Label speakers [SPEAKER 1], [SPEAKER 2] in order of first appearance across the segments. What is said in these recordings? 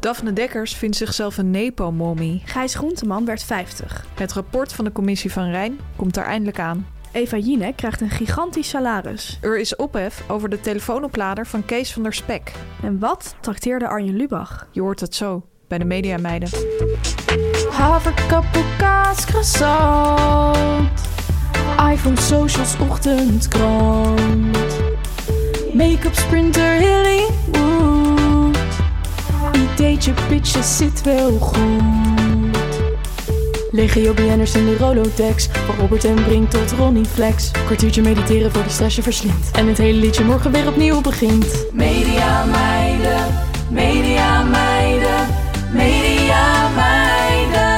[SPEAKER 1] Daphne Dekkers vindt zichzelf een Nepo-mommy.
[SPEAKER 2] Gijs Groenteman werd 50.
[SPEAKER 1] Het rapport van de commissie van Rijn komt daar eindelijk aan.
[SPEAKER 2] Eva Jinek krijgt een gigantisch salaris.
[SPEAKER 1] Er is ophef over de telefoonoplader van Kees van der Spek.
[SPEAKER 2] En wat trakteerde Arjen Lubach?
[SPEAKER 1] Je hoort het zo bij de Mediameiden.
[SPEAKER 3] Haverkappel, kaas, croissant. iPhone, socials, ochtendkrant. Make-up, sprinter, Hollywood. Ideetje, pitje, zit wel goed. Legio BN'ers in de Rolodex. Van Robert en Brink tot Ronnie Flex. Kwartiertje mediteren voor die stress je verslindt. En het hele liedje morgen weer opnieuw begint. Media meiden, media meiden, media meiden.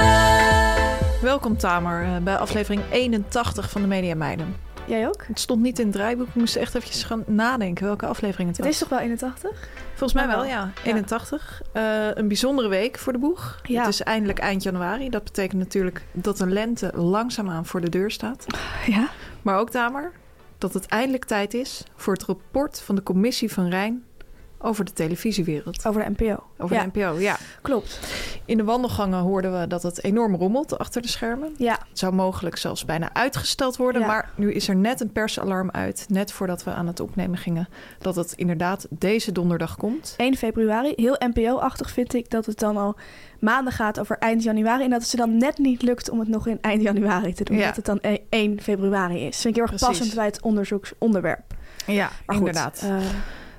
[SPEAKER 1] Welkom Tamer eh, bij aflevering 81 van de Mediameiden.
[SPEAKER 2] Jij ook?
[SPEAKER 1] Het stond niet in het draaiboek, ik moest echt eventjes gaan nadenken welke aflevering het
[SPEAKER 2] Het
[SPEAKER 1] was.
[SPEAKER 2] is toch wel 81?
[SPEAKER 1] Volgens mij wel, ja.
[SPEAKER 2] Ja.
[SPEAKER 1] 81. Eh, een bijzondere week voor de boeg.
[SPEAKER 2] Ja.
[SPEAKER 1] Het is eindelijk eind januari. Dat betekent natuurlijk dat de lente langzaamaan voor de deur staat.
[SPEAKER 2] Ja.
[SPEAKER 1] Maar ook, Tamer, dat het eindelijk tijd is voor het rapport van de commissie van Rijn over de televisiewereld.
[SPEAKER 2] Over de NPO.
[SPEAKER 1] Over
[SPEAKER 2] ja,
[SPEAKER 1] de NPO, Oh, ja.
[SPEAKER 2] Klopt.
[SPEAKER 1] In de wandelgangen hoorden we dat het enorm rommelt achter de schermen.
[SPEAKER 2] Ja.
[SPEAKER 1] Het zou mogelijk zelfs bijna uitgesteld worden.
[SPEAKER 2] Ja.
[SPEAKER 1] Maar nu is er net een persalarm uit, net voordat we aan het opnemen gingen, dat het inderdaad deze donderdag komt.
[SPEAKER 2] 1 februari. Heel NPO-achtig vind ik dat het dan al maanden gaat over eind januari. En dat het ze dan net niet lukt om het nog in eind januari te doen.
[SPEAKER 1] Ja.
[SPEAKER 2] Dat het dan e- 1 februari is. vind ik heel erg
[SPEAKER 1] Precies.
[SPEAKER 2] passend bij het onderzoeksonderwerp.
[SPEAKER 1] Ja,
[SPEAKER 2] Maar goed,
[SPEAKER 1] inderdaad.
[SPEAKER 2] eh,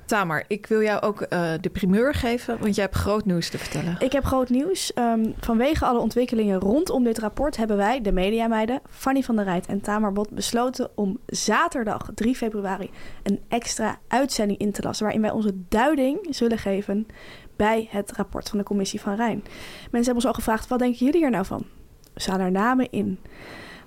[SPEAKER 1] Tamer, ik wil jou ook eh, de primeur geven, want jij hebt groot nieuws te vertellen.
[SPEAKER 2] Ik heb groot nieuws. Ehm, vanwege alle ontwikkelingen rondom dit rapport hebben wij, de mediameiden, Fanny van der Rijt en Tamar Bot, besloten om zaterdag 3 februari een extra uitzending in te lassen. Waarin wij onze duiding zullen geven bij het rapport van de Commissie van Rijn. Mensen hebben ons al gevraagd: wat denken jullie hier nou van? Staan er namen in?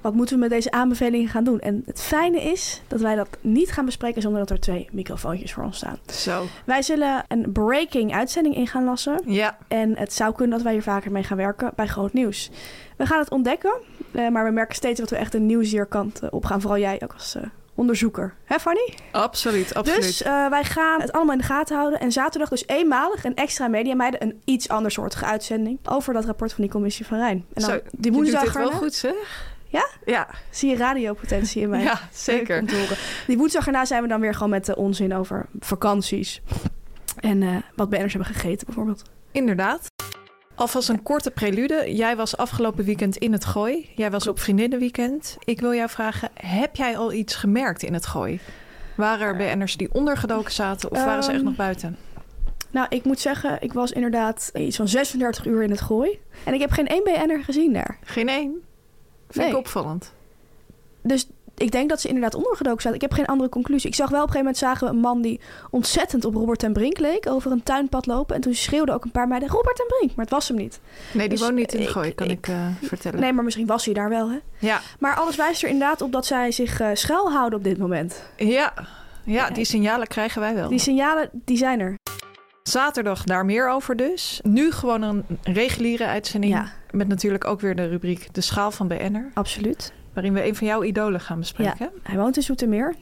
[SPEAKER 2] Wat moeten we met deze aanbevelingen gaan doen? En het fijne is dat wij dat niet gaan bespreken zonder dat er twee microfoontjes voor ons staan.
[SPEAKER 1] Zo.
[SPEAKER 2] Wij zullen een breaking uitzending in gaan lassen.
[SPEAKER 1] Ja,
[SPEAKER 2] En het zou kunnen dat wij hier vaker mee gaan werken bij groot nieuws. We gaan het ontdekken, eh, maar we merken steeds dat we echt een nieuwsierkant eh, op gaan. Vooral jij ook als eh, onderzoeker. Hè, Fanny?
[SPEAKER 1] absoluut, absoluut.
[SPEAKER 2] Dus eh, wij gaan het allemaal in de gaten houden. En zaterdag dus eenmalig een extra media meiden, een iets andersoortige uitzending over dat rapport van die commissie van Rijn. En dan
[SPEAKER 1] Zo,
[SPEAKER 2] die
[SPEAKER 1] je doet
[SPEAKER 2] woensdag
[SPEAKER 1] dit wel
[SPEAKER 2] erna-
[SPEAKER 1] goed, zeg.
[SPEAKER 2] Ja?
[SPEAKER 1] Ja,
[SPEAKER 2] zie je radiopotentie in mij.
[SPEAKER 1] ja
[SPEAKER 2] Leuk
[SPEAKER 1] zeker.
[SPEAKER 2] om te horen. Die woensdag erna zijn we dan weer gewoon met de onzin over vakanties. En eh, wat banners hebben gegeten bijvoorbeeld.
[SPEAKER 1] Inderdaad. Alvast een korte prelude. Jij was afgelopen weekend in het gooi. Jij was op vriendinnenweekend. Ik wil jou vragen, heb jij al iets gemerkt in het gooi? Waren er BN'ers die ondergedoken zaten of waren ze echt
[SPEAKER 2] Ehm,
[SPEAKER 1] nog buiten?
[SPEAKER 2] Nou, ik moet zeggen, ik was inderdaad iets van 36 uur in het gooi. En ik heb geen één BN'er gezien daar.
[SPEAKER 1] Geen één. Vind
[SPEAKER 2] Nee.
[SPEAKER 1] ik opvallend.
[SPEAKER 2] Dus ik denk dat ze inderdaad ondergedoken zaten. Ik heb geen andere conclusie. Ik zag wel op een gegeven moment zagen we een man die ontzettend op Robert en Brink leek. Over een tuinpad lopen. En toen schreeuwden ook een paar meiden Robert en Brink. Maar het was hem niet.
[SPEAKER 1] Nee, die
[SPEAKER 2] Dus
[SPEAKER 1] woont niet in het
[SPEAKER 2] ik-
[SPEAKER 1] gooi, kan ik,
[SPEAKER 2] ik-
[SPEAKER 1] eh, vertellen.
[SPEAKER 2] Nee, maar misschien was hij daar wel. Hè?
[SPEAKER 1] Ja,
[SPEAKER 2] Maar alles wijst er inderdaad op dat zij zich eh schuil houden op dit moment.
[SPEAKER 1] ja. ja, die signalen krijgen wij wel.
[SPEAKER 2] Die signalen, die zijn er.
[SPEAKER 1] Zaterdag daar meer over dus. Nu gewoon een reguliere uitzending.
[SPEAKER 2] Ja.
[SPEAKER 1] Met natuurlijk ook weer de rubriek De Schaal van BN'er.
[SPEAKER 2] Absoluut.
[SPEAKER 1] Waarin we een van jouw idolen gaan bespreken.
[SPEAKER 2] Hij woont in Zoetermeer.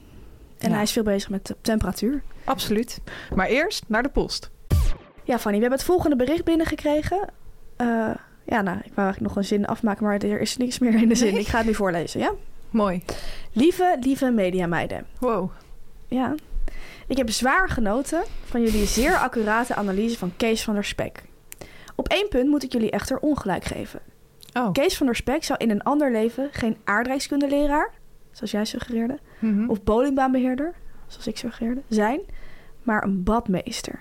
[SPEAKER 2] En
[SPEAKER 1] Ja.
[SPEAKER 2] hij is veel bezig met de temperatuur.
[SPEAKER 1] Absoluut. Maar eerst naar de post.
[SPEAKER 2] Ja, Fanny, we hebben het volgende bericht binnengekregen. Eh ja, nou, ik wou eigenlijk nog een zin afmaken, maar er is niks meer in de zin.
[SPEAKER 1] Nee?
[SPEAKER 2] Ik ga het nu voorlezen, ja?
[SPEAKER 1] Mooi.
[SPEAKER 2] Lieve, lieve mediameiden.
[SPEAKER 1] Wow.
[SPEAKER 2] Ja. Ik heb zwaar genoten van jullie zeer accurate analyse van Kees van der Spek. Op één punt moet ik jullie echter ongelijk geven.
[SPEAKER 1] Oh.
[SPEAKER 2] Kees van der Spek zou in een ander leven geen aardrijkskundeleraar, zoals jij suggereerde,
[SPEAKER 1] Mhm.
[SPEAKER 2] of bowlingbaanbeheerder, zoals ik suggereerde, zijn, maar een badmeester.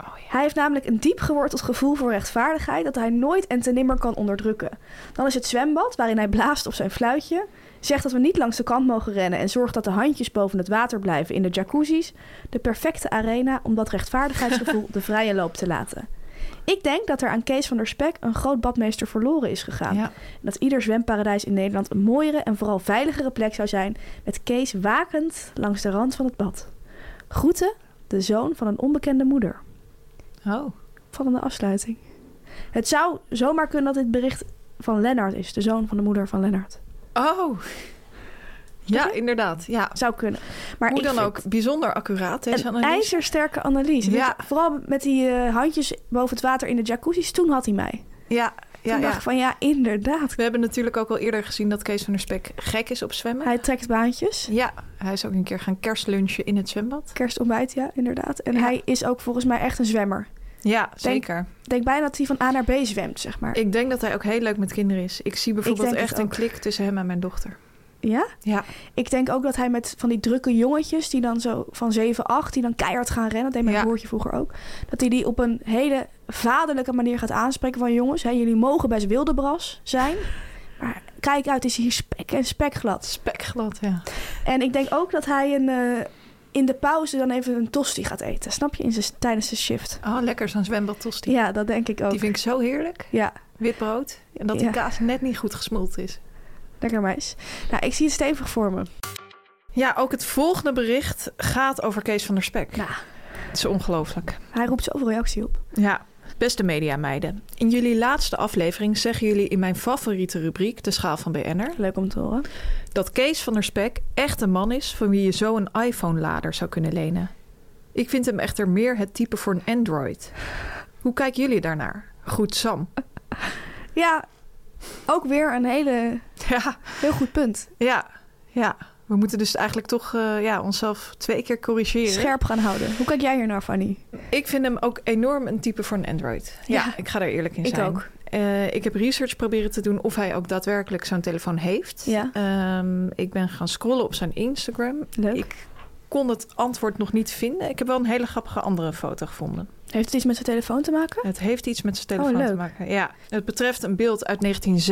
[SPEAKER 1] Oh ja.
[SPEAKER 2] Hij heeft namelijk een diep geworteld gevoel voor rechtvaardigheid dat hij nooit en te nimmer kan onderdrukken. Dan is het zwembad, waarin hij blaast op zijn fluitje, zegt dat we niet langs de kant mogen rennen en zorgt dat de handjes boven het water blijven in de jacuzzis, de perfecte arena om dat rechtvaardigheidsgevoel de vrije loop te laten. Ik denk dat er aan Kees van der Spek een groot badmeester verloren is gegaan.
[SPEAKER 1] Ja.
[SPEAKER 2] En dat ieder zwemparadijs in Nederland een mooiere en vooral veiligere plek zou zijn, met Kees wakend langs de rand van het bad. Groeten, de zoon van een onbekende moeder
[SPEAKER 1] Oh.
[SPEAKER 2] opvallende afsluiting. Het zou zomaar kunnen dat dit bericht van Lennart is, de zoon van de moeder van Lennart.
[SPEAKER 1] Oh. Ja, inderdaad. Ja.
[SPEAKER 2] Zou kunnen. Maar
[SPEAKER 1] Hoe
[SPEAKER 2] ik
[SPEAKER 1] dan
[SPEAKER 2] vind
[SPEAKER 1] ook, bijzonder accuraat deze
[SPEAKER 2] Een
[SPEAKER 1] analyse.
[SPEAKER 2] ijzersterke analyse.
[SPEAKER 1] Ja.
[SPEAKER 2] Dus vooral met die eh, handjes boven het water in de jacuzzi's. Toen had hij mij.
[SPEAKER 1] Ja, ja,
[SPEAKER 2] toen dacht
[SPEAKER 1] ja.
[SPEAKER 2] ik van ja, inderdaad.
[SPEAKER 1] We hebben natuurlijk ook al eerder gezien dat Kees van der Spek gek is op zwemmen.
[SPEAKER 2] Hij trekt baantjes.
[SPEAKER 1] Ja, hij is ook een keer gaan kerstlunchen in het zwembad.
[SPEAKER 2] Kerstontbijt, ja, inderdaad. En
[SPEAKER 1] Ja.
[SPEAKER 2] hij is ook volgens mij echt een zwemmer.
[SPEAKER 1] Ja, zeker.
[SPEAKER 2] Ik denk bijna dat hij van A naar B zwemt, zeg maar.
[SPEAKER 1] Ik denk dat hij ook heel leuk met kinderen is. Ik zie bijvoorbeeld
[SPEAKER 2] denk het
[SPEAKER 1] echt een
[SPEAKER 2] ook.
[SPEAKER 1] klik tussen hem en mijn dochter.
[SPEAKER 2] Ja?
[SPEAKER 1] Ja,
[SPEAKER 2] Ik denk ook dat hij met van die drukke jongetjes, die dan zo van 7, 8, die dan keihard gaan rennen, dat deed mijn
[SPEAKER 1] Ja.
[SPEAKER 2] broertje vroeger ook, dat hij die op een hele vaderlijke manier gaat aanspreken van jongens, hè, jullie mogen best wildebras zijn, maar kijk uit, is hier spek en spekglad.
[SPEAKER 1] spekglad, ja.
[SPEAKER 2] En ik denk ook dat hij een, eh, in de pauze dan even een tosti gaat eten, snap je, in zijn, tijdens de shift.
[SPEAKER 1] Oh, lekker zo'n zwembadtosti.
[SPEAKER 2] Ja, dat denk ik ook.
[SPEAKER 1] Die vind ik zo heerlijk.
[SPEAKER 2] Ja,
[SPEAKER 1] Wit brood. En dat die
[SPEAKER 2] Ja.
[SPEAKER 1] kaas net niet goed gesmolten is.
[SPEAKER 2] lekker meis. Nou, ik zie het stevig voor me.
[SPEAKER 1] Ja, ook het volgende bericht gaat over Kees van der Spek.
[SPEAKER 2] Nou.
[SPEAKER 1] Het is ongelooflijk.
[SPEAKER 2] Hij roept zoveel reactie op.
[SPEAKER 1] Ja. Beste mediameiden, in jullie laatste aflevering zeggen jullie in mijn favoriete rubriek, de schaal van BN'er,
[SPEAKER 2] Leuk om te horen.
[SPEAKER 1] dat Kees van der Spek echt een man is van wie je zo een iPhone-lader zou kunnen lenen. Ik vind hem echter meer het type voor een Android. Hoe kijken jullie daarnaar? Goed, Sam.
[SPEAKER 2] Ja, ook weer een hele,
[SPEAKER 1] Ja,
[SPEAKER 2] heel goed punt.
[SPEAKER 1] ja, ja. We moeten dus eigenlijk toch eh, ja, onszelf twee keer corrigeren.
[SPEAKER 2] Scherp gaan houden. Hoe kijk jij hier naar, Fanny?
[SPEAKER 1] Ik vind hem ook enorm een type voor een Android. Ja,
[SPEAKER 2] Ja.
[SPEAKER 1] ik ga daar eerlijk in
[SPEAKER 2] Ik
[SPEAKER 1] zijn.
[SPEAKER 2] ook.
[SPEAKER 1] Eh, ik heb research proberen te doen of hij ook daadwerkelijk zo'n telefoon heeft.
[SPEAKER 2] Ja.
[SPEAKER 1] Ehm, ik ben gaan scrollen op zijn Instagram.
[SPEAKER 2] Leuk.
[SPEAKER 1] Ik kon het antwoord nog niet vinden. Ik heb wel een hele grappige andere foto gevonden.
[SPEAKER 2] Heeft het iets met zijn telefoon te maken?
[SPEAKER 1] Het heeft iets met zijn telefoon
[SPEAKER 2] Oh,
[SPEAKER 1] te
[SPEAKER 2] leuk.
[SPEAKER 1] maken. Ja, het betreft een beeld uit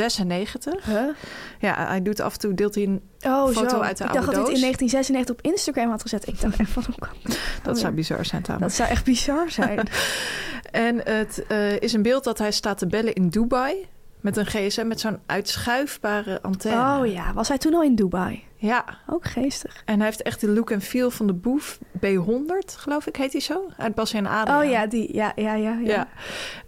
[SPEAKER 1] 1996.
[SPEAKER 2] Huh?
[SPEAKER 1] Ja, hij doet af en toe deelt hij een.
[SPEAKER 2] Oh,
[SPEAKER 1] Foto
[SPEAKER 2] zo.
[SPEAKER 1] uit de
[SPEAKER 2] ik
[SPEAKER 1] oude
[SPEAKER 2] dacht dat hij
[SPEAKER 1] doos.
[SPEAKER 2] het in 1996 op Instagram had gezet. Ik dacht echt van, hoe kan dat?
[SPEAKER 1] Dat
[SPEAKER 2] Oh,
[SPEAKER 1] zou
[SPEAKER 2] ja.
[SPEAKER 1] bizar zijn trouwens.
[SPEAKER 2] Dat zou echt bizar zijn.
[SPEAKER 1] En het eh, is een beeld dat hij staat te bellen in Dubai. Met een gsm met zo'n uitschuifbare antenne.
[SPEAKER 2] oh ja, was hij toen al in Dubai?
[SPEAKER 1] Ja,
[SPEAKER 2] Ook geestig.
[SPEAKER 1] en hij heeft echt de look en feel van de boef B100, geloof ik, heet hij zo? Uit Bas en Adriaan.
[SPEAKER 2] Oh ja, die. Ja, ja, ja.
[SPEAKER 1] Ja.
[SPEAKER 2] ja.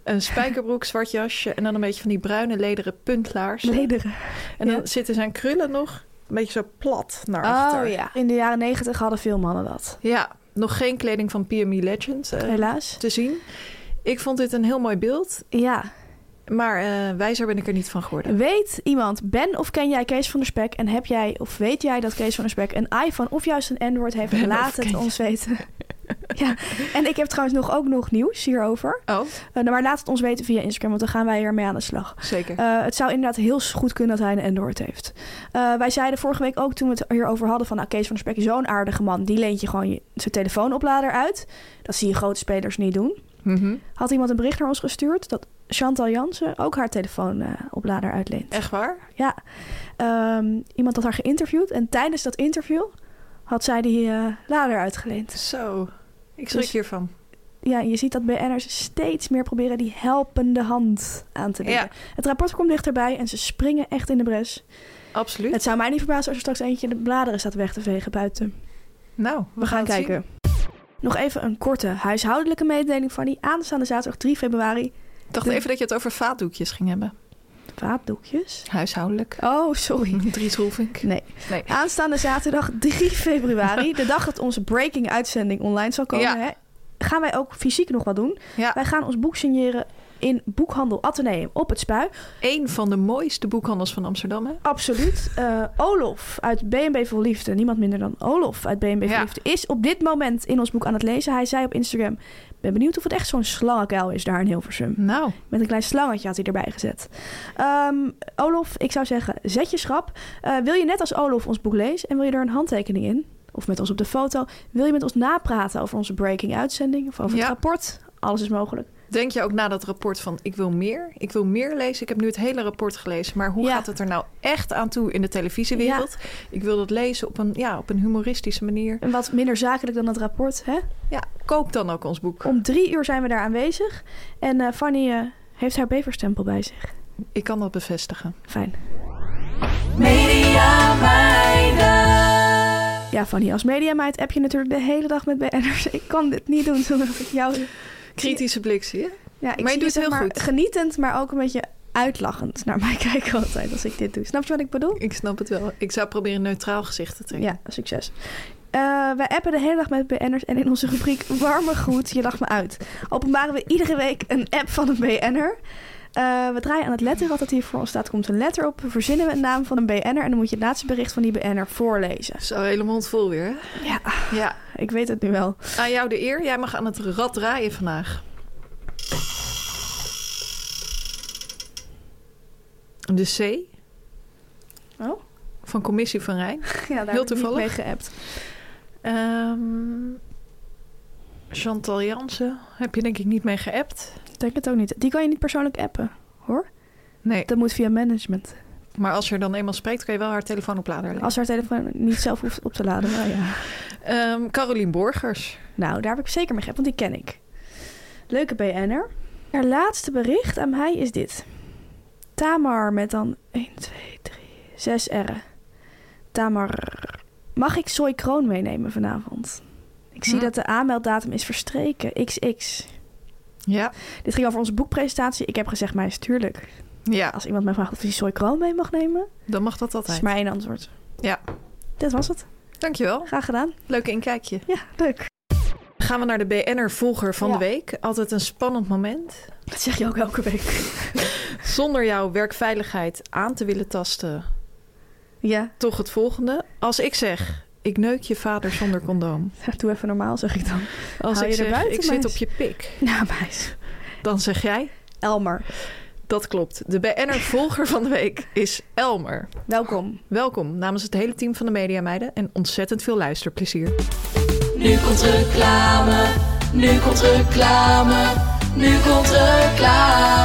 [SPEAKER 1] Een spijkerbroek, zwart jasje en dan een beetje van die bruine lederen puntlaars.
[SPEAKER 2] Lederen.
[SPEAKER 1] en dan
[SPEAKER 2] ja.
[SPEAKER 1] zitten zijn krullen nog een beetje zo plat naar achter.
[SPEAKER 2] Oh ja. In de jaren 90 hadden veel mannen dat.
[SPEAKER 1] Ja, nog geen kleding van PME Legend eh,
[SPEAKER 2] Helaas.
[SPEAKER 1] te zien. Ik vond dit een heel mooi beeld,
[SPEAKER 2] Ja.
[SPEAKER 1] maar eh, wijzer ben ik er niet van geworden.
[SPEAKER 2] Weet iemand, ben of ken jij Kees van der Spek? En heb jij of weet jij dat Kees van der Spek een iPhone of juist een Android heeft?
[SPEAKER 1] Ben of
[SPEAKER 2] Laat het
[SPEAKER 1] ken
[SPEAKER 2] ons weten. ja. En ik heb trouwens nog, ook nog nieuws hierover.
[SPEAKER 1] Oh,
[SPEAKER 2] Eh, nou, maar laat het ons weten via Instagram, want dan gaan wij ermee aan de slag.
[SPEAKER 1] zeker.
[SPEAKER 2] Eh, het zou inderdaad heel s- goed kunnen dat hij een Android heeft. Eh, wij zeiden vorige week ook toen we het hierover hadden van... Nou, Kees van der Spek is zo'n aardige man. Die leent je gewoon je, zijn telefoonoplader uit. Dat zie je grote spelers niet doen.
[SPEAKER 1] Mhm.
[SPEAKER 2] Had iemand een bericht naar ons gestuurd dat Chantal Jansen ook haar telefoonoplader uitleent.
[SPEAKER 1] Echt waar?
[SPEAKER 2] Ja. Ehm, iemand had haar geïnterviewd en tijdens dat interview had zij die eh, lader uitgeleend.
[SPEAKER 1] Zo, ik schrik
[SPEAKER 2] Dus-
[SPEAKER 1] hiervan.
[SPEAKER 2] ja, je ziet dat BN'ers steeds meer proberen die helpende hand aan te bieden.
[SPEAKER 1] Ja.
[SPEAKER 2] Het rapport komt dichterbij en ze springen echt in de bres.
[SPEAKER 1] Absoluut.
[SPEAKER 2] Het zou mij niet verbazen als er straks eentje de bladeren staat weg te vegen buiten.
[SPEAKER 1] Nou, we,
[SPEAKER 2] We gaan
[SPEAKER 1] het zien.
[SPEAKER 2] kijken. Nog even een korte huishoudelijke mededeling van die aanstaande zaterdag 3 februari.
[SPEAKER 1] Ik dacht
[SPEAKER 2] De-
[SPEAKER 1] even dat je het over vaatdoekjes ging hebben.
[SPEAKER 2] Waaddoekjes.
[SPEAKER 1] Huishoudelijk.
[SPEAKER 2] Oh, sorry.
[SPEAKER 1] Dries Roelvink.
[SPEAKER 2] Nee.
[SPEAKER 1] Nee.
[SPEAKER 2] Aanstaande zaterdag 3 februari, de dag dat onze breaking-uitzending online zal komen,
[SPEAKER 1] Ja.
[SPEAKER 2] hè, gaan wij ook fysiek nog wat doen.
[SPEAKER 1] Ja,
[SPEAKER 2] Wij gaan ons boek signeren in boekhandel Atheneum op het Spui.
[SPEAKER 1] een van de mooiste boekhandels van Amsterdam, hè?
[SPEAKER 2] Absoluut. Eh, Olof uit BNB voor Liefde, niemand minder dan Olof uit BNB voor
[SPEAKER 1] Ja.
[SPEAKER 2] Liefde, is op dit moment in ons boek aan het lezen. Hij zei op Instagram: Ben benieuwd of het echt zo'n slangenkuil is daar in Hilversum.
[SPEAKER 1] Nou,
[SPEAKER 2] Met een klein slangetje had hij erbij gezet. Ehm, Olof, ik zou zeggen: zet je schrap. Eh, wil je net als Olof ons boek lezen en wil je er een handtekening in? Of of met ons op de foto. Wil je met ons napraten over onze breaking uitzending of over
[SPEAKER 1] Ja.
[SPEAKER 2] het rapport? Alles is mogelijk.
[SPEAKER 1] Denk je ook na dat rapport van ik wil meer, ik wil meer lezen. Ik heb nu het hele rapport gelezen, maar hoe
[SPEAKER 2] Ja.
[SPEAKER 1] gaat het er nou echt aan toe in de televisiewereld? Ik wil dat lezen op een, ja, op een humoristische manier.
[SPEAKER 2] En wat minder zakelijk dan het rapport. Hè?
[SPEAKER 1] Ja, koop dan ook ons boek.
[SPEAKER 2] Om drie uur zijn we daar aanwezig. En eh, Fanny eh, heeft haar beverstempel bij zich.
[SPEAKER 1] Ik kan dat bevestigen.
[SPEAKER 2] Fijn.
[SPEAKER 3] Media meiden.
[SPEAKER 2] Ja, Fanny, als mediameid app je natuurlijk de hele dag met BN'ers. Ik kan dit niet doen zonder dat ik jou...
[SPEAKER 1] Kritische blik, zie je?
[SPEAKER 2] Ja, ik
[SPEAKER 1] Maar je
[SPEAKER 2] zie
[SPEAKER 1] doet het
[SPEAKER 2] zeg
[SPEAKER 1] heel
[SPEAKER 2] maar
[SPEAKER 1] goed.
[SPEAKER 2] Genietend, maar ook een beetje uitlachend naar mij kijken altijd als ik dit doe. Snap je wat ik bedoel?
[SPEAKER 1] Ik snap het wel. Ik zou proberen een neutraal gezicht te trekken.
[SPEAKER 2] Ja, succes. Eh, wij appen de hele dag met BN'ers en in onze rubriek Warme Groet, je lacht me uit. Openbaren we iedere week een app van een BN'er. Eh, we draaien aan het letterrad dat hier voor ons staat, komt een letter op. We verzinnen we een naam van een BN'er en dan moet je het laatste bericht van die BN'er voorlezen.
[SPEAKER 1] Zo, hele mond vol weer. hè?
[SPEAKER 2] Ja,
[SPEAKER 1] Ja.
[SPEAKER 2] ik weet het nu wel.
[SPEAKER 1] Aan jou de eer. Jij mag aan het rad draaien vandaag. De C
[SPEAKER 2] Oh,
[SPEAKER 1] van Commissie van Rijn.
[SPEAKER 2] ja, daar
[SPEAKER 1] Heel
[SPEAKER 2] heb ik niet
[SPEAKER 1] toevallig.
[SPEAKER 2] mee geappt.
[SPEAKER 1] Ehm, Chantal Jansen heb je denk ik niet mee geappt.
[SPEAKER 2] Ik denk het ook niet. Die kan je niet persoonlijk appen, hoor.
[SPEAKER 1] Nee,
[SPEAKER 2] Dat moet via management.
[SPEAKER 1] maar als je er dan eenmaal spreekt, kan je wel haar telefoon op lader leggen.
[SPEAKER 2] Als haar telefoon niet zelf hoeft op te laden. Nou, ja.
[SPEAKER 1] Ehm, Carolien Borgers.
[SPEAKER 2] Nou, daar heb ik zeker mee gehad, want die ken ik. Leuke BN'er. Haar laatste bericht aan mij is dit. Tamar met dan 1, 2, 3, 6 R'en. Tamar, mag ik Soy Kroon meenemen vanavond? Ik zie
[SPEAKER 1] Hm.
[SPEAKER 2] dat de aanmelddatum is verstreken. XX.
[SPEAKER 1] Ja.
[SPEAKER 2] Dit ging over onze boekpresentatie. Ik heb gezegd, mij is tuurlijk.
[SPEAKER 1] ja,
[SPEAKER 2] Als iemand mij vraagt of hij Soy Kroon mee mag nemen,
[SPEAKER 1] dan mag dat
[SPEAKER 2] dat is
[SPEAKER 1] altijd.
[SPEAKER 2] maar één antwoord.
[SPEAKER 1] Ja.
[SPEAKER 2] Dit was het.
[SPEAKER 1] Dankjewel.
[SPEAKER 2] Graag gedaan.
[SPEAKER 1] Leuk inkijkje.
[SPEAKER 2] Ja, leuk.
[SPEAKER 1] Gaan we naar de BN'er-volger van
[SPEAKER 2] Ja.
[SPEAKER 1] de week. Altijd een spannend moment.
[SPEAKER 2] Dat zeg je ook elke week.
[SPEAKER 1] Zonder jouw werkveiligheid aan te willen tasten,
[SPEAKER 2] Ja,
[SPEAKER 1] toch het volgende. Als ik zeg, ik neuk je vader zonder condoom.
[SPEAKER 2] doe even normaal, zeg ik dan.
[SPEAKER 1] Als
[SPEAKER 2] Hou
[SPEAKER 1] ik
[SPEAKER 2] je er
[SPEAKER 1] zeg,
[SPEAKER 2] buiten,
[SPEAKER 1] ik zit
[SPEAKER 2] meis?
[SPEAKER 1] op je pik.
[SPEAKER 2] Nou, meis.
[SPEAKER 1] Dan zeg jij,
[SPEAKER 2] Elmer.
[SPEAKER 1] dat klopt. De BN'er-volger van de week is Elmer.
[SPEAKER 2] Welkom.
[SPEAKER 1] Welkom namens het hele team van de Media Meiden en ontzettend veel luisterplezier.
[SPEAKER 3] Nu komt reclame. Nu komt reclame. Nu komt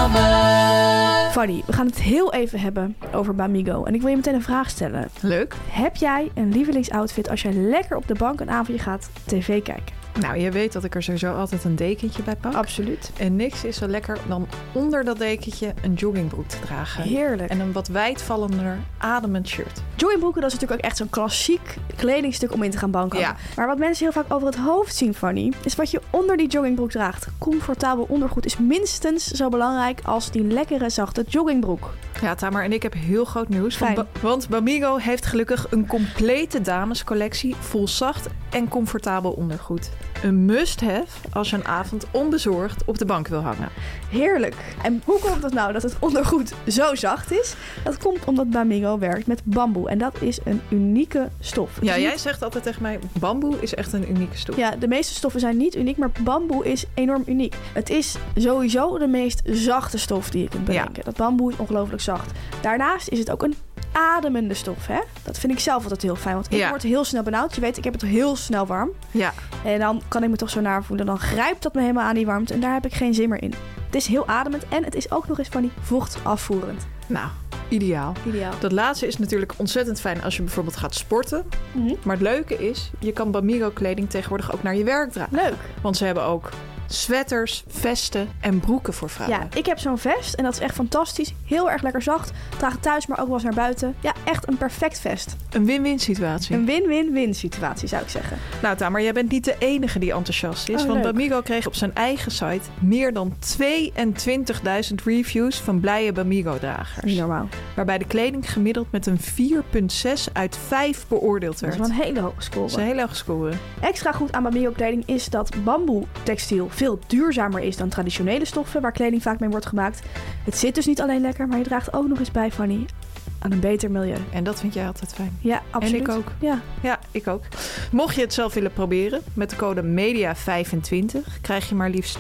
[SPEAKER 3] reclame.
[SPEAKER 2] Fanny, we gaan het heel even hebben over Bamigo. En ik wil je meteen een vraag stellen.
[SPEAKER 1] Leuk.
[SPEAKER 2] Heb jij een lievelingsoutfit als jij lekker op de bank een avondje gaat tv kijken?
[SPEAKER 1] Nou, je weet dat ik er sowieso altijd een dekentje bij pak.
[SPEAKER 2] Absoluut.
[SPEAKER 1] En niks is zo lekker dan onder dat dekentje een joggingbroek te dragen.
[SPEAKER 2] Heerlijk.
[SPEAKER 1] En een wat wijdvallender ademend shirt.
[SPEAKER 2] Joggingbroeken, dat is natuurlijk ook echt zo'n klassiek kledingstuk om in te gaan banken.
[SPEAKER 1] Ja.
[SPEAKER 2] Maar wat mensen heel vaak over het hoofd zien, Fanny, is wat je onder die joggingbroek draagt. Comfortabel ondergoed is minstens zo belangrijk als die lekkere, zachte joggingbroek.
[SPEAKER 1] Ja, Tamar en ik heb heel groot nieuws.
[SPEAKER 2] Fijn.
[SPEAKER 1] Want, Ba- want Bamigo heeft gelukkig een complete damescollectie vol zacht en comfortabel ondergoed. Een must-have als je een avond onbezorgd op de bank wil hangen.
[SPEAKER 2] Heerlijk. En hoe komt het nou dat het ondergoed zo zacht is? Dat komt omdat Bamigo werkt met bamboe. En dat is een unieke stof. Het
[SPEAKER 1] Ja,
[SPEAKER 2] is
[SPEAKER 1] jij
[SPEAKER 2] niet-
[SPEAKER 1] zegt altijd tegen mij, bamboe is echt een unieke stoel.
[SPEAKER 2] Ja, de meeste stoffen zijn niet uniek, maar bamboe is enorm uniek. Het is sowieso de meest zachte stof die je kunt bedenken. Dat bamboe is ongelooflijk zacht. Daarnaast is het ook een ademende stof, hè? Dat vind ik zelf altijd heel fijn, want ik
[SPEAKER 1] Ja.
[SPEAKER 2] word heel snel benauwd. Je weet, ik heb het heel snel warm.
[SPEAKER 1] Ja.
[SPEAKER 2] En dan kan ik me toch zo naar voelen. Dan grijpt dat me helemaal aan die warmte en daar heb ik geen zin meer in. Het is heel ademend en het is ook nog eens van die vocht afvoerend.
[SPEAKER 1] Nou, ideaal.
[SPEAKER 2] Ideaal.
[SPEAKER 1] Dat laatste is natuurlijk ontzettend fijn als je bijvoorbeeld gaat sporten.
[SPEAKER 2] Mhm.
[SPEAKER 1] Maar het leuke is, je kan Bamigo kleding tegenwoordig ook naar je werk dragen.
[SPEAKER 2] Leuk.
[SPEAKER 1] Want ze hebben ook sweaters, vesten en broeken voor vrouwen.
[SPEAKER 2] Ja, ik heb zo'n vest en dat is echt fantastisch. Heel erg lekker zacht. Draag het thuis, maar ook wel eens naar buiten. Ja, echt een perfect vest.
[SPEAKER 1] Een win-win situatie.
[SPEAKER 2] Een win-win-win situatie zou ik zeggen.
[SPEAKER 1] Nou Tamer, jij bent niet de enige die enthousiast is.
[SPEAKER 2] Oh,
[SPEAKER 1] want
[SPEAKER 2] leuk.
[SPEAKER 1] Bamigo kreeg op zijn eigen site meer dan 22.000 reviews van blije Bamigo-dragers.
[SPEAKER 2] Niet normaal.
[SPEAKER 1] Waarbij de kleding gemiddeld met een 4,6 uit 5 beoordeeld
[SPEAKER 2] Dat is
[SPEAKER 1] werd.
[SPEAKER 2] wel een hele hoge
[SPEAKER 1] Dat is een
[SPEAKER 2] score.
[SPEAKER 1] hele hoge score.
[SPEAKER 2] Extra goed aan Bamigo kleding is dat bamboe textiel veel duurzamer is dan traditionele stoffen waar kleding vaak mee wordt gemaakt. Het zit dus niet alleen lekker, maar je draagt ook nog eens bij, Fanny, aan een beter milieu.
[SPEAKER 1] En dat vind jij altijd fijn.
[SPEAKER 2] Ja, absoluut.
[SPEAKER 1] ik ook.
[SPEAKER 2] Ja.
[SPEAKER 1] Ja, ik ook. Mocht je het zelf willen proberen, met de code MEDIA25 krijg je maar liefst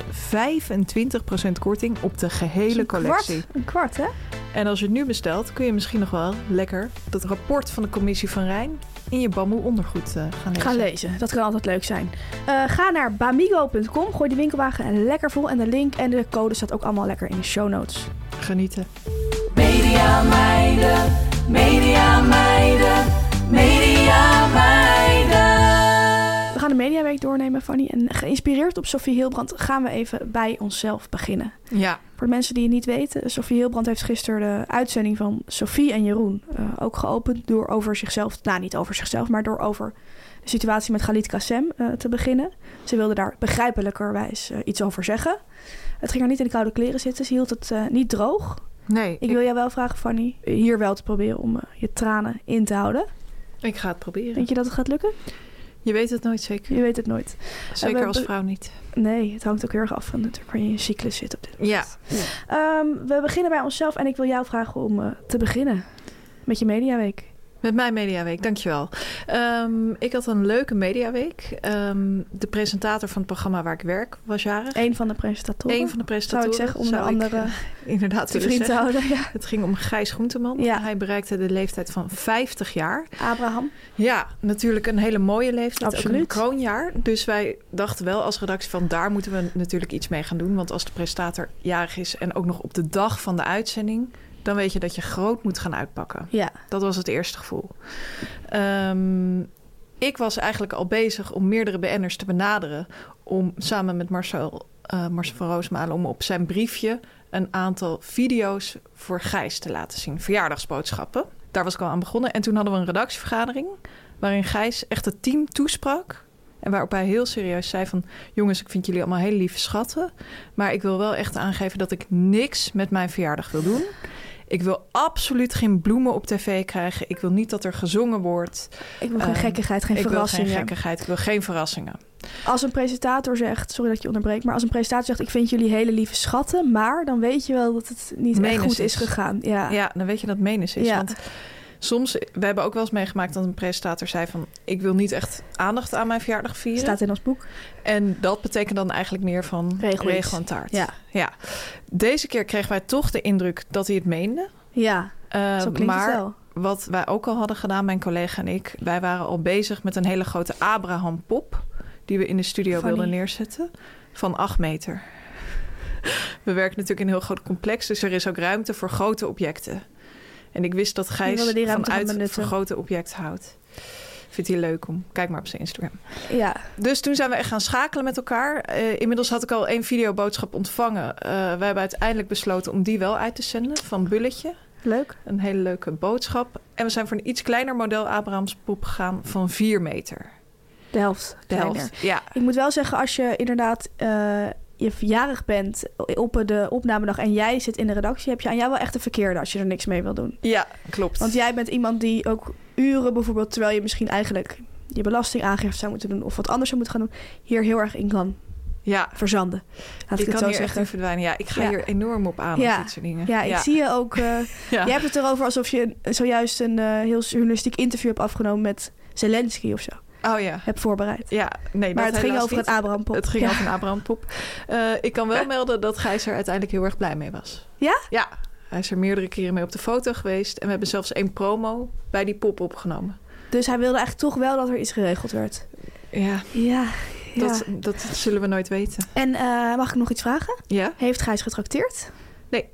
[SPEAKER 1] 25% korting op de
[SPEAKER 2] Dus
[SPEAKER 1] gehele
[SPEAKER 2] een
[SPEAKER 1] collectie.
[SPEAKER 2] Kwart, een kwart, hè?
[SPEAKER 1] En als je het nu bestelt, kun je misschien nog wel lekker dat rapport van de commissie van Rijn in je bamboe ondergoed eh, gaan lezen.
[SPEAKER 2] Ga lezen, dat kan altijd leuk zijn. Eh, ga naar bamigo.com, gooi de winkelwagen lekker vol en de link en de code staat ook allemaal lekker in de show notes.
[SPEAKER 1] Genieten.
[SPEAKER 3] Media meiden, media meiden, media meiden.
[SPEAKER 2] We gaan de Mediaweek doornemen, Fanny. En geïnspireerd op Sofie Hilbrand gaan we even bij onszelf beginnen.
[SPEAKER 1] Ja,
[SPEAKER 2] Voor de mensen die het niet weten, Sofie Hilbrand heeft gisteren de uitzending van Sofie en Jeroen eh, ook geopend door over zichzelf, nou niet over zichzelf, maar door over de situatie met Galit Kassem eh, te beginnen. Ze wilde daar begrijpelijkerwijs eh, iets over zeggen. Het ging haar niet in de koude kleren zitten, ze hield het eh, niet droog.
[SPEAKER 1] nee,
[SPEAKER 2] Ik wil jou wel vragen, Fanny, hier wel te proberen om eh, je tranen in te houden.
[SPEAKER 1] ik ga het proberen.
[SPEAKER 2] Denk je dat het gaat lukken?
[SPEAKER 1] Je weet het nooit zeker.
[SPEAKER 2] Je weet het nooit.
[SPEAKER 1] Zeker
[SPEAKER 2] we-
[SPEAKER 1] als vrouw niet.
[SPEAKER 2] Nee, het hangt ook heel erg af van natuurlijk waar je in cyclus zit op dit moment.
[SPEAKER 1] Ja.
[SPEAKER 2] Ehm, we beginnen bij onszelf en ik wil jou vragen om eh, te beginnen met je mediaweek.
[SPEAKER 1] Met mijn Mediaweek, dankjewel. Ehm, ik had een leuke Mediaweek. Ehm, de presentator van het programma waar ik werk was jarig.
[SPEAKER 2] Eén van de presentatoren.
[SPEAKER 1] Eén van de
[SPEAKER 2] zou
[SPEAKER 1] presentatoren.
[SPEAKER 2] ik zeggen, om de
[SPEAKER 1] zou ik,
[SPEAKER 2] andere
[SPEAKER 1] eh, inderdaad
[SPEAKER 2] te
[SPEAKER 1] willen
[SPEAKER 2] vriend te
[SPEAKER 1] zeggen.
[SPEAKER 2] houden. Ja.
[SPEAKER 1] Het ging om Gijs Groenteman.
[SPEAKER 2] Ja.
[SPEAKER 1] Hij bereikte de leeftijd van 50 jaar.
[SPEAKER 2] Abraham.
[SPEAKER 1] Ja, natuurlijk een hele mooie leeftijd. Ook een
[SPEAKER 2] Absoluut.
[SPEAKER 1] kroonjaar. Dus wij dachten wel als redactie van daar moeten we natuurlijk iets mee gaan doen. Want als de presentator jarig is en ook nog op de dag van de uitzending... dan weet je dat je groot moet gaan uitpakken.
[SPEAKER 2] Ja.
[SPEAKER 1] Dat was het eerste gevoel. Ehm, ik was eigenlijk al bezig om meerdere BN'ers te benaderen... om samen met Marcel, eh, Marcel van Roosmalen... om op zijn briefje een aantal video's voor Gijs te laten zien. Verjaardagsboodschappen. Daar was ik al aan begonnen. En toen hadden we een redactievergadering... waarin Gijs echt het team toesprak... En waarop hij heel serieus zei van... jongens, ik vind jullie allemaal hele lieve schatten... maar ik wil wel echt aangeven dat ik niks met mijn verjaardag wil doen. Ik wil absoluut geen bloemen op tv krijgen. Ik wil niet dat er gezongen wordt.
[SPEAKER 2] Ik wil geen
[SPEAKER 1] Ehm,
[SPEAKER 2] gekkigheid, geen
[SPEAKER 1] ik
[SPEAKER 2] verrassingen.
[SPEAKER 1] wil geen gekkigheid. Ik wil geen verrassingen.
[SPEAKER 2] Als een presentator zegt, sorry dat ik je onderbreekt, maar als een presentator zegt, ik vind jullie hele lieve schatten, maar dan weet je wel dat het niet echt
[SPEAKER 1] Menens
[SPEAKER 2] goed is
[SPEAKER 1] is.
[SPEAKER 2] gegaan. Ja.
[SPEAKER 1] Ja, dan weet je dat menens is.
[SPEAKER 2] Ah. Ja.
[SPEAKER 1] Want soms, we hebben ook wel eens meegemaakt dat een presentator zei van... ik wil niet echt aandacht aan mijn verjaardag vieren.
[SPEAKER 2] Staat in ons boek.
[SPEAKER 1] En dat betekent dan eigenlijk meer van
[SPEAKER 2] Regel
[SPEAKER 1] regel,
[SPEAKER 2] iets.
[SPEAKER 1] en taart.
[SPEAKER 2] Ja.
[SPEAKER 1] ja. Deze keer kregen wij toch de indruk dat hij het meende.
[SPEAKER 2] Ja,
[SPEAKER 1] Eh,
[SPEAKER 2] zo klinkt
[SPEAKER 1] maar
[SPEAKER 2] het wel.
[SPEAKER 1] wat wij ook al hadden gedaan, mijn collega en ik, wij waren al bezig met een hele grote Abraham pop die we in de studio
[SPEAKER 2] Funny.
[SPEAKER 1] wilden neerzetten van 8 meter. We werken natuurlijk in een heel groot complex, dus er is ook ruimte voor grote objecten. En ik wist dat
[SPEAKER 2] We
[SPEAKER 1] Gijs
[SPEAKER 2] wilden die ruimte gaan
[SPEAKER 1] vanuit
[SPEAKER 2] benutten.
[SPEAKER 1] van grote object houdt. Vindt hij leuk om. Kijk maar op zijn Instagram.
[SPEAKER 2] Ja,
[SPEAKER 1] Dus toen zijn we echt gaan schakelen met elkaar. Eh, inmiddels had ik al één videoboodschap ontvangen. Eh we hebben uiteindelijk besloten om die wel uit te zenden van Bulletje.
[SPEAKER 2] leuk.
[SPEAKER 1] Een hele leuke boodschap. En we zijn voor een iets kleiner model Abrahams poep gegaan van 4 meter.
[SPEAKER 2] De helft.
[SPEAKER 1] De
[SPEAKER 2] kleiner.
[SPEAKER 1] helft. Ja.
[SPEAKER 2] Ik moet wel zeggen, als je inderdaad eh, je jarig bent op de opnamedag en jij zit in de redactie, heb je aan jou wel echt de verkeerde als je er niks mee wil doen.
[SPEAKER 1] ja, klopt.
[SPEAKER 2] Want jij bent iemand die ook uren bijvoorbeeld, terwijl je misschien eigenlijk je belastingaangifte zou moeten doen of wat anders zou moeten gaan doen, hier heel erg in kan
[SPEAKER 1] ja,
[SPEAKER 2] verzanden. Laat
[SPEAKER 1] ik
[SPEAKER 2] ik het
[SPEAKER 1] kan
[SPEAKER 2] zo
[SPEAKER 1] hier echt in
[SPEAKER 2] zeggen.
[SPEAKER 1] verdwijnen. Ja, ik ga
[SPEAKER 2] Ja.
[SPEAKER 1] hier enorm op aan
[SPEAKER 2] Ja.
[SPEAKER 1] op dit soort dingen.
[SPEAKER 2] Ja, ik zie je ook. eh,
[SPEAKER 1] Ja.
[SPEAKER 2] Jij hebt het erover alsof je zojuist een eh, heel journalistiek interview hebt afgenomen met Zelensky of zo.
[SPEAKER 1] Oh ja.
[SPEAKER 2] Hebt voorbereid.
[SPEAKER 1] Ja, nee,
[SPEAKER 2] maar
[SPEAKER 1] dat
[SPEAKER 2] het ging
[SPEAKER 1] helaas
[SPEAKER 2] over
[SPEAKER 1] niet.
[SPEAKER 2] het Abraham Pop.
[SPEAKER 1] Het ging
[SPEAKER 2] ja.
[SPEAKER 1] over een Abraham-pop. ik kan wel melden dat Gijs er uiteindelijk heel erg blij mee was.
[SPEAKER 2] Ja?
[SPEAKER 1] Ja. Hij is er meerdere keren mee op de foto geweest. En we hebben zelfs één promo bij die pop opgenomen.
[SPEAKER 2] Dus hij wilde eigenlijk toch wel dat er iets geregeld werd.
[SPEAKER 1] Ja,
[SPEAKER 2] Ja. ja.
[SPEAKER 1] dat, dat zullen we nooit weten.
[SPEAKER 2] En eh, mag ik nog iets vragen?
[SPEAKER 1] Ja?
[SPEAKER 2] Heeft Gijs getrakteerd?
[SPEAKER 1] Nee.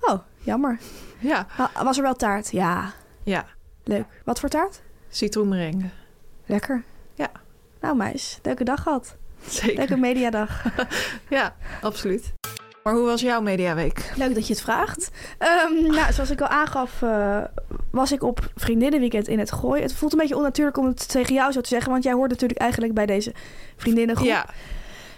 [SPEAKER 2] Oh, jammer.
[SPEAKER 1] Ja.
[SPEAKER 2] Wa- Was er wel taart? Ja.
[SPEAKER 1] Ja.
[SPEAKER 2] Leuk. Wat voor taart?
[SPEAKER 1] Citroenmerengue.
[SPEAKER 2] Lekker.
[SPEAKER 1] Ja.
[SPEAKER 2] Nou meis, leuke dag gehad.
[SPEAKER 1] Zeker.
[SPEAKER 2] Leuke mediadag.
[SPEAKER 1] Ja, absoluut. Maar hoe was jouw mediaweek?
[SPEAKER 2] Leuk dat je het vraagt. Ehm, nou, zoals ik al aangaf, eh, was ik op vriendinnenweekend in het Gooi. Het voelt een beetje onnatuurlijk om het tegen jou zo te zeggen, want jij hoort natuurlijk eigenlijk bij deze vriendinnengroep.
[SPEAKER 1] Ja,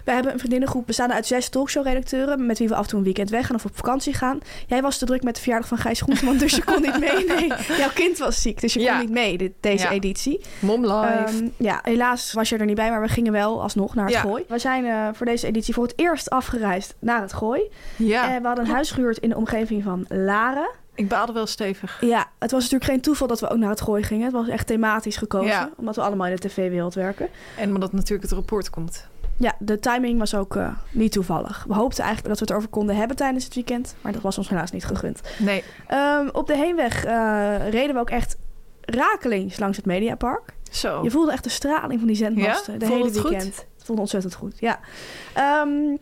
[SPEAKER 2] Wij hebben een vriendinnengroep bestaande uit zes talkshow-redacteuren... met wie we af en toe een weekend weggaan of op vakantie gaan. Jij was te druk met de verjaardag van Gijs Groenteman, dus je kon niet mee. Nee, jouw kind was ziek, dus je
[SPEAKER 1] Ja.
[SPEAKER 2] kon niet mee dit, deze
[SPEAKER 1] Ja.
[SPEAKER 2] editie.
[SPEAKER 1] mom live.
[SPEAKER 2] Ehm, ja, helaas was je er niet bij, maar we gingen wel alsnog naar het
[SPEAKER 1] Ja.
[SPEAKER 2] Gooi. We zijn eh, voor deze editie voor het eerst afgereisd naar het Gooi.
[SPEAKER 1] ja,
[SPEAKER 2] En we hadden een huis gehuurd in de omgeving van Laren.
[SPEAKER 1] eh, ik baalde wel stevig.
[SPEAKER 2] Ja, het was natuurlijk geen toeval dat we ook naar het Gooi gingen. Het was echt thematisch gekozen,
[SPEAKER 1] Ja.
[SPEAKER 2] omdat we allemaal in de tv-wereld werken.
[SPEAKER 1] En omdat natuurlijk het rapport komt.
[SPEAKER 2] Ja, de timing was ook eh, niet toevallig. We hoopten eigenlijk dat we het erover konden hebben tijdens het weekend, maar dat was ons helaas niet gegund.
[SPEAKER 1] Nee,
[SPEAKER 2] Ehm, op de heenweg eh, reden we ook echt rakelings langs het Mediapark.
[SPEAKER 1] Zo.
[SPEAKER 2] Je voelde echt de straling van die zendmasten.
[SPEAKER 1] Oh. Ja?
[SPEAKER 2] De
[SPEAKER 1] Vond
[SPEAKER 2] hele
[SPEAKER 1] het goed?
[SPEAKER 2] weekend. Het voelde ontzettend goed, ja. Ehm,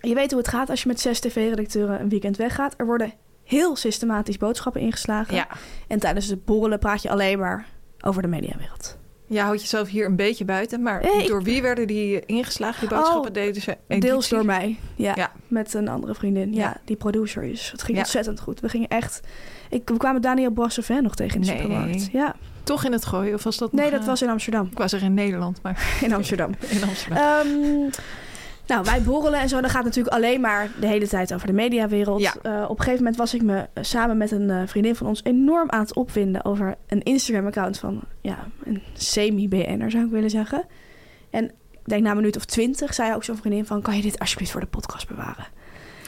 [SPEAKER 2] je weet hoe het gaat als je met zes tv-redacteuren een weekend weggaat. Er worden heel systematisch boodschappen ingeslagen.
[SPEAKER 1] ja.
[SPEAKER 2] En tijdens de borrelen praat je alleen maar over de mediawereld.
[SPEAKER 1] Je houdt jezelf hier een beetje buiten, maar
[SPEAKER 2] Nee, ik-
[SPEAKER 1] door wie werden die ingeslagen? Die boodschappen
[SPEAKER 2] Oh,
[SPEAKER 1] deden ze
[SPEAKER 2] Deels
[SPEAKER 1] editie?
[SPEAKER 2] door mij, ja,
[SPEAKER 1] Ja.
[SPEAKER 2] Met een andere vriendin, ja,
[SPEAKER 1] Ja.
[SPEAKER 2] die producer is. Het ging
[SPEAKER 1] Ja.
[SPEAKER 2] ontzettend goed. We gingen echt... Ik, we kwamen Daniel Brassevin nog tegen in de
[SPEAKER 1] Nee.
[SPEAKER 2] supermarkt. Ja.
[SPEAKER 1] Toch in het gooien? Of was dat
[SPEAKER 2] Nee,
[SPEAKER 1] nog,
[SPEAKER 2] dat
[SPEAKER 1] eh,
[SPEAKER 2] was in Amsterdam.
[SPEAKER 1] Ik was er in Nederland, maar
[SPEAKER 2] In Amsterdam.
[SPEAKER 1] in Amsterdam.
[SPEAKER 2] Ehm, nou, wij borrelen en zo. Dan gaat het natuurlijk alleen maar de hele tijd over de mediawereld.
[SPEAKER 1] Ja.
[SPEAKER 2] Eh, op een gegeven moment was ik me eh, samen met een eh, vriendin van ons enorm aan het opwinden over een Instagram-account van ja, een semi-BN'er zou ik willen zeggen. En ik denk na een minuut of twintig zei ook zo'n vriendin van... kan je dit alsjeblieft voor de podcast bewaren?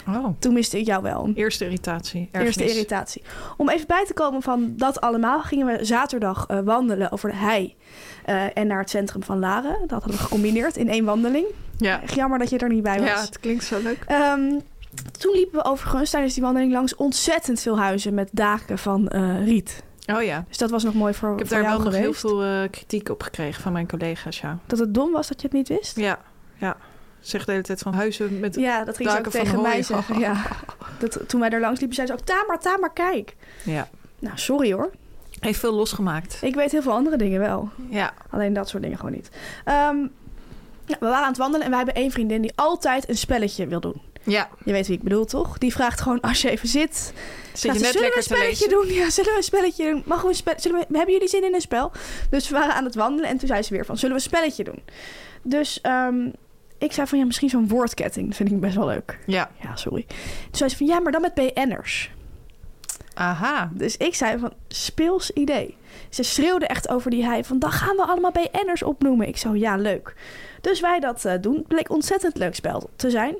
[SPEAKER 1] oh,
[SPEAKER 2] Toen miste ik jou wel.
[SPEAKER 1] eerste irritatie.
[SPEAKER 2] Eerste
[SPEAKER 1] ergernis.
[SPEAKER 2] irritatie. Om even bij te komen van dat allemaal, gingen we zaterdag eh, wandelen over de hei eh, en naar het centrum van Laren. Dat hadden we gecombineerd in één wandeling.
[SPEAKER 1] Ja.
[SPEAKER 2] Echt jammer dat je er niet bij was.
[SPEAKER 1] ja, het klinkt zo leuk.
[SPEAKER 2] Ehm, toen liepen we overigens tijdens die wandeling langs ontzettend veel huizen met daken van eh, riet.
[SPEAKER 1] Oh ja,
[SPEAKER 2] Dus dat was nog mooi voor,
[SPEAKER 1] ik heb
[SPEAKER 2] voor
[SPEAKER 1] daar wel
[SPEAKER 2] jou
[SPEAKER 1] nog
[SPEAKER 2] geweest.
[SPEAKER 1] heel veel eh, kritiek op gekregen van mijn collega's, ja.
[SPEAKER 2] Dat het dom was dat je het niet wist.
[SPEAKER 1] Ja, ja. Zeg de hele tijd van huizen met... Ja.
[SPEAKER 2] Ja, dat ging ze ook
[SPEAKER 1] Daken van
[SPEAKER 2] tegen mij
[SPEAKER 1] hooi.
[SPEAKER 2] zeggen. Ja. Dat, toen wij daar langs liepen, zei ze ook: Tamar, Tamar, kijk. Nou, sorry hoor.
[SPEAKER 1] Heeft veel losgemaakt.
[SPEAKER 2] Ik weet heel veel andere dingen wel.
[SPEAKER 1] Ja.
[SPEAKER 2] Alleen dat soort dingen gewoon niet. Ehm, nou, we waren aan het wandelen en wij hebben één vriendin die altijd een spelletje wil doen.
[SPEAKER 1] Ja.
[SPEAKER 2] Je weet wie ik bedoel, toch? Die vraagt gewoon als je even zit,
[SPEAKER 1] Zit je
[SPEAKER 2] Laten-
[SPEAKER 1] net
[SPEAKER 2] zullen we
[SPEAKER 1] lekker
[SPEAKER 2] een
[SPEAKER 1] te
[SPEAKER 2] spelletje
[SPEAKER 1] lezen?
[SPEAKER 2] doen? Ja, zullen we een spelletje doen? Mogen we een spe- zullen we, hebben jullie zin in een spel? Dus we waren aan het wandelen en toen zei ze weer van, zullen we een spelletje doen? Dus ehm, ik zei van, ja, misschien zo'n woordketting. Dat vind ik best wel leuk.
[SPEAKER 1] Ja.
[SPEAKER 2] Ja, sorry. Toen zei ze van, ja, maar dan met BN'ers.
[SPEAKER 1] Aha.
[SPEAKER 2] Dus ik zei van, speels idee. Ze schreeuwde echt over die hei van, dan gaan we allemaal BN'ers opnoemen. Ik zo, ja, leuk. Dus wij dat eh, doen. Bleek ontzettend leuk spel te zijn.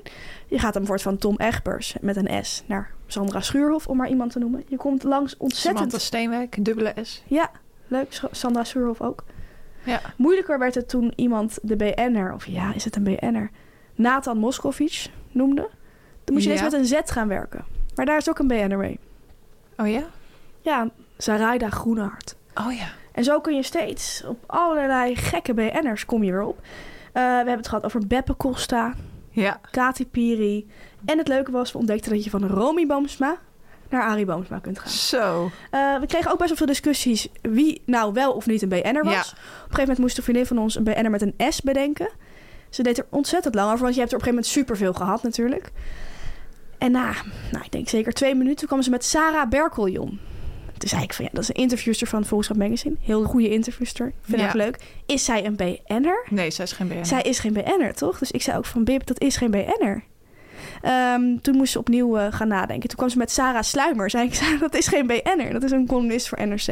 [SPEAKER 2] Je gaat dan woord van Tom Egbers met een S naar Sandra Schuurhof, om maar iemand te noemen. Je komt langs
[SPEAKER 1] Samantha
[SPEAKER 2] ontzettend...
[SPEAKER 1] Steenwijk, dubbele S.
[SPEAKER 2] Ja, leuk. Sch- Sandra Schuurhof ook.
[SPEAKER 1] Ja.
[SPEAKER 2] Moeilijker werd het toen iemand de BN'er, of ja, is het een BN'er? Nathan Moskovits noemde. Dan moest je
[SPEAKER 1] Ja.
[SPEAKER 2] ineens met een Z gaan werken. Maar daar is ook een BN'er mee.
[SPEAKER 1] Oh ja?
[SPEAKER 2] Ja, Zaraida Groenehart.
[SPEAKER 1] Oh ja.
[SPEAKER 2] En zo kun je steeds op allerlei gekke BN'ers kom je weer op. Eh, we hebben het gehad over Beppe Costa,
[SPEAKER 1] Ja.
[SPEAKER 2] Katy Piri. En het leuke was, we ontdekten dat je van Romy Boomsma naar Arie Boomsma kunt gaan.
[SPEAKER 1] Zo.
[SPEAKER 2] Eh, we kregen ook best wel veel discussies wie nou wel of niet een BN'er was.
[SPEAKER 1] Ja.
[SPEAKER 2] Op een gegeven moment moest een vriendin van ons een BN'er met een S bedenken. Ze deed er ontzettend lang over, want je hebt er op een gegeven moment superveel gehad natuurlijk. En na, nou, ik denk zeker twee minuten, kwam ze met Sarah Berkeljon. Toen zei ik van, ja, dat is een interviewster van Volkskrant Magazine. Heel goede interviewster, Ik vind
[SPEAKER 1] Ja.
[SPEAKER 2] haar leuk. Is zij een BN'er?
[SPEAKER 1] Nee, zij is geen BN'er.
[SPEAKER 2] Zij is geen BN'er, toch? Dus ik zei ook van Bib, dat is geen BN'er. Ehm, toen moest ze opnieuw eh, gaan nadenken. Toen kwam ze met Sarah Sluimer. Zei ik, Sarah, dat is geen BN'er. Dat is een columnist voor NRC.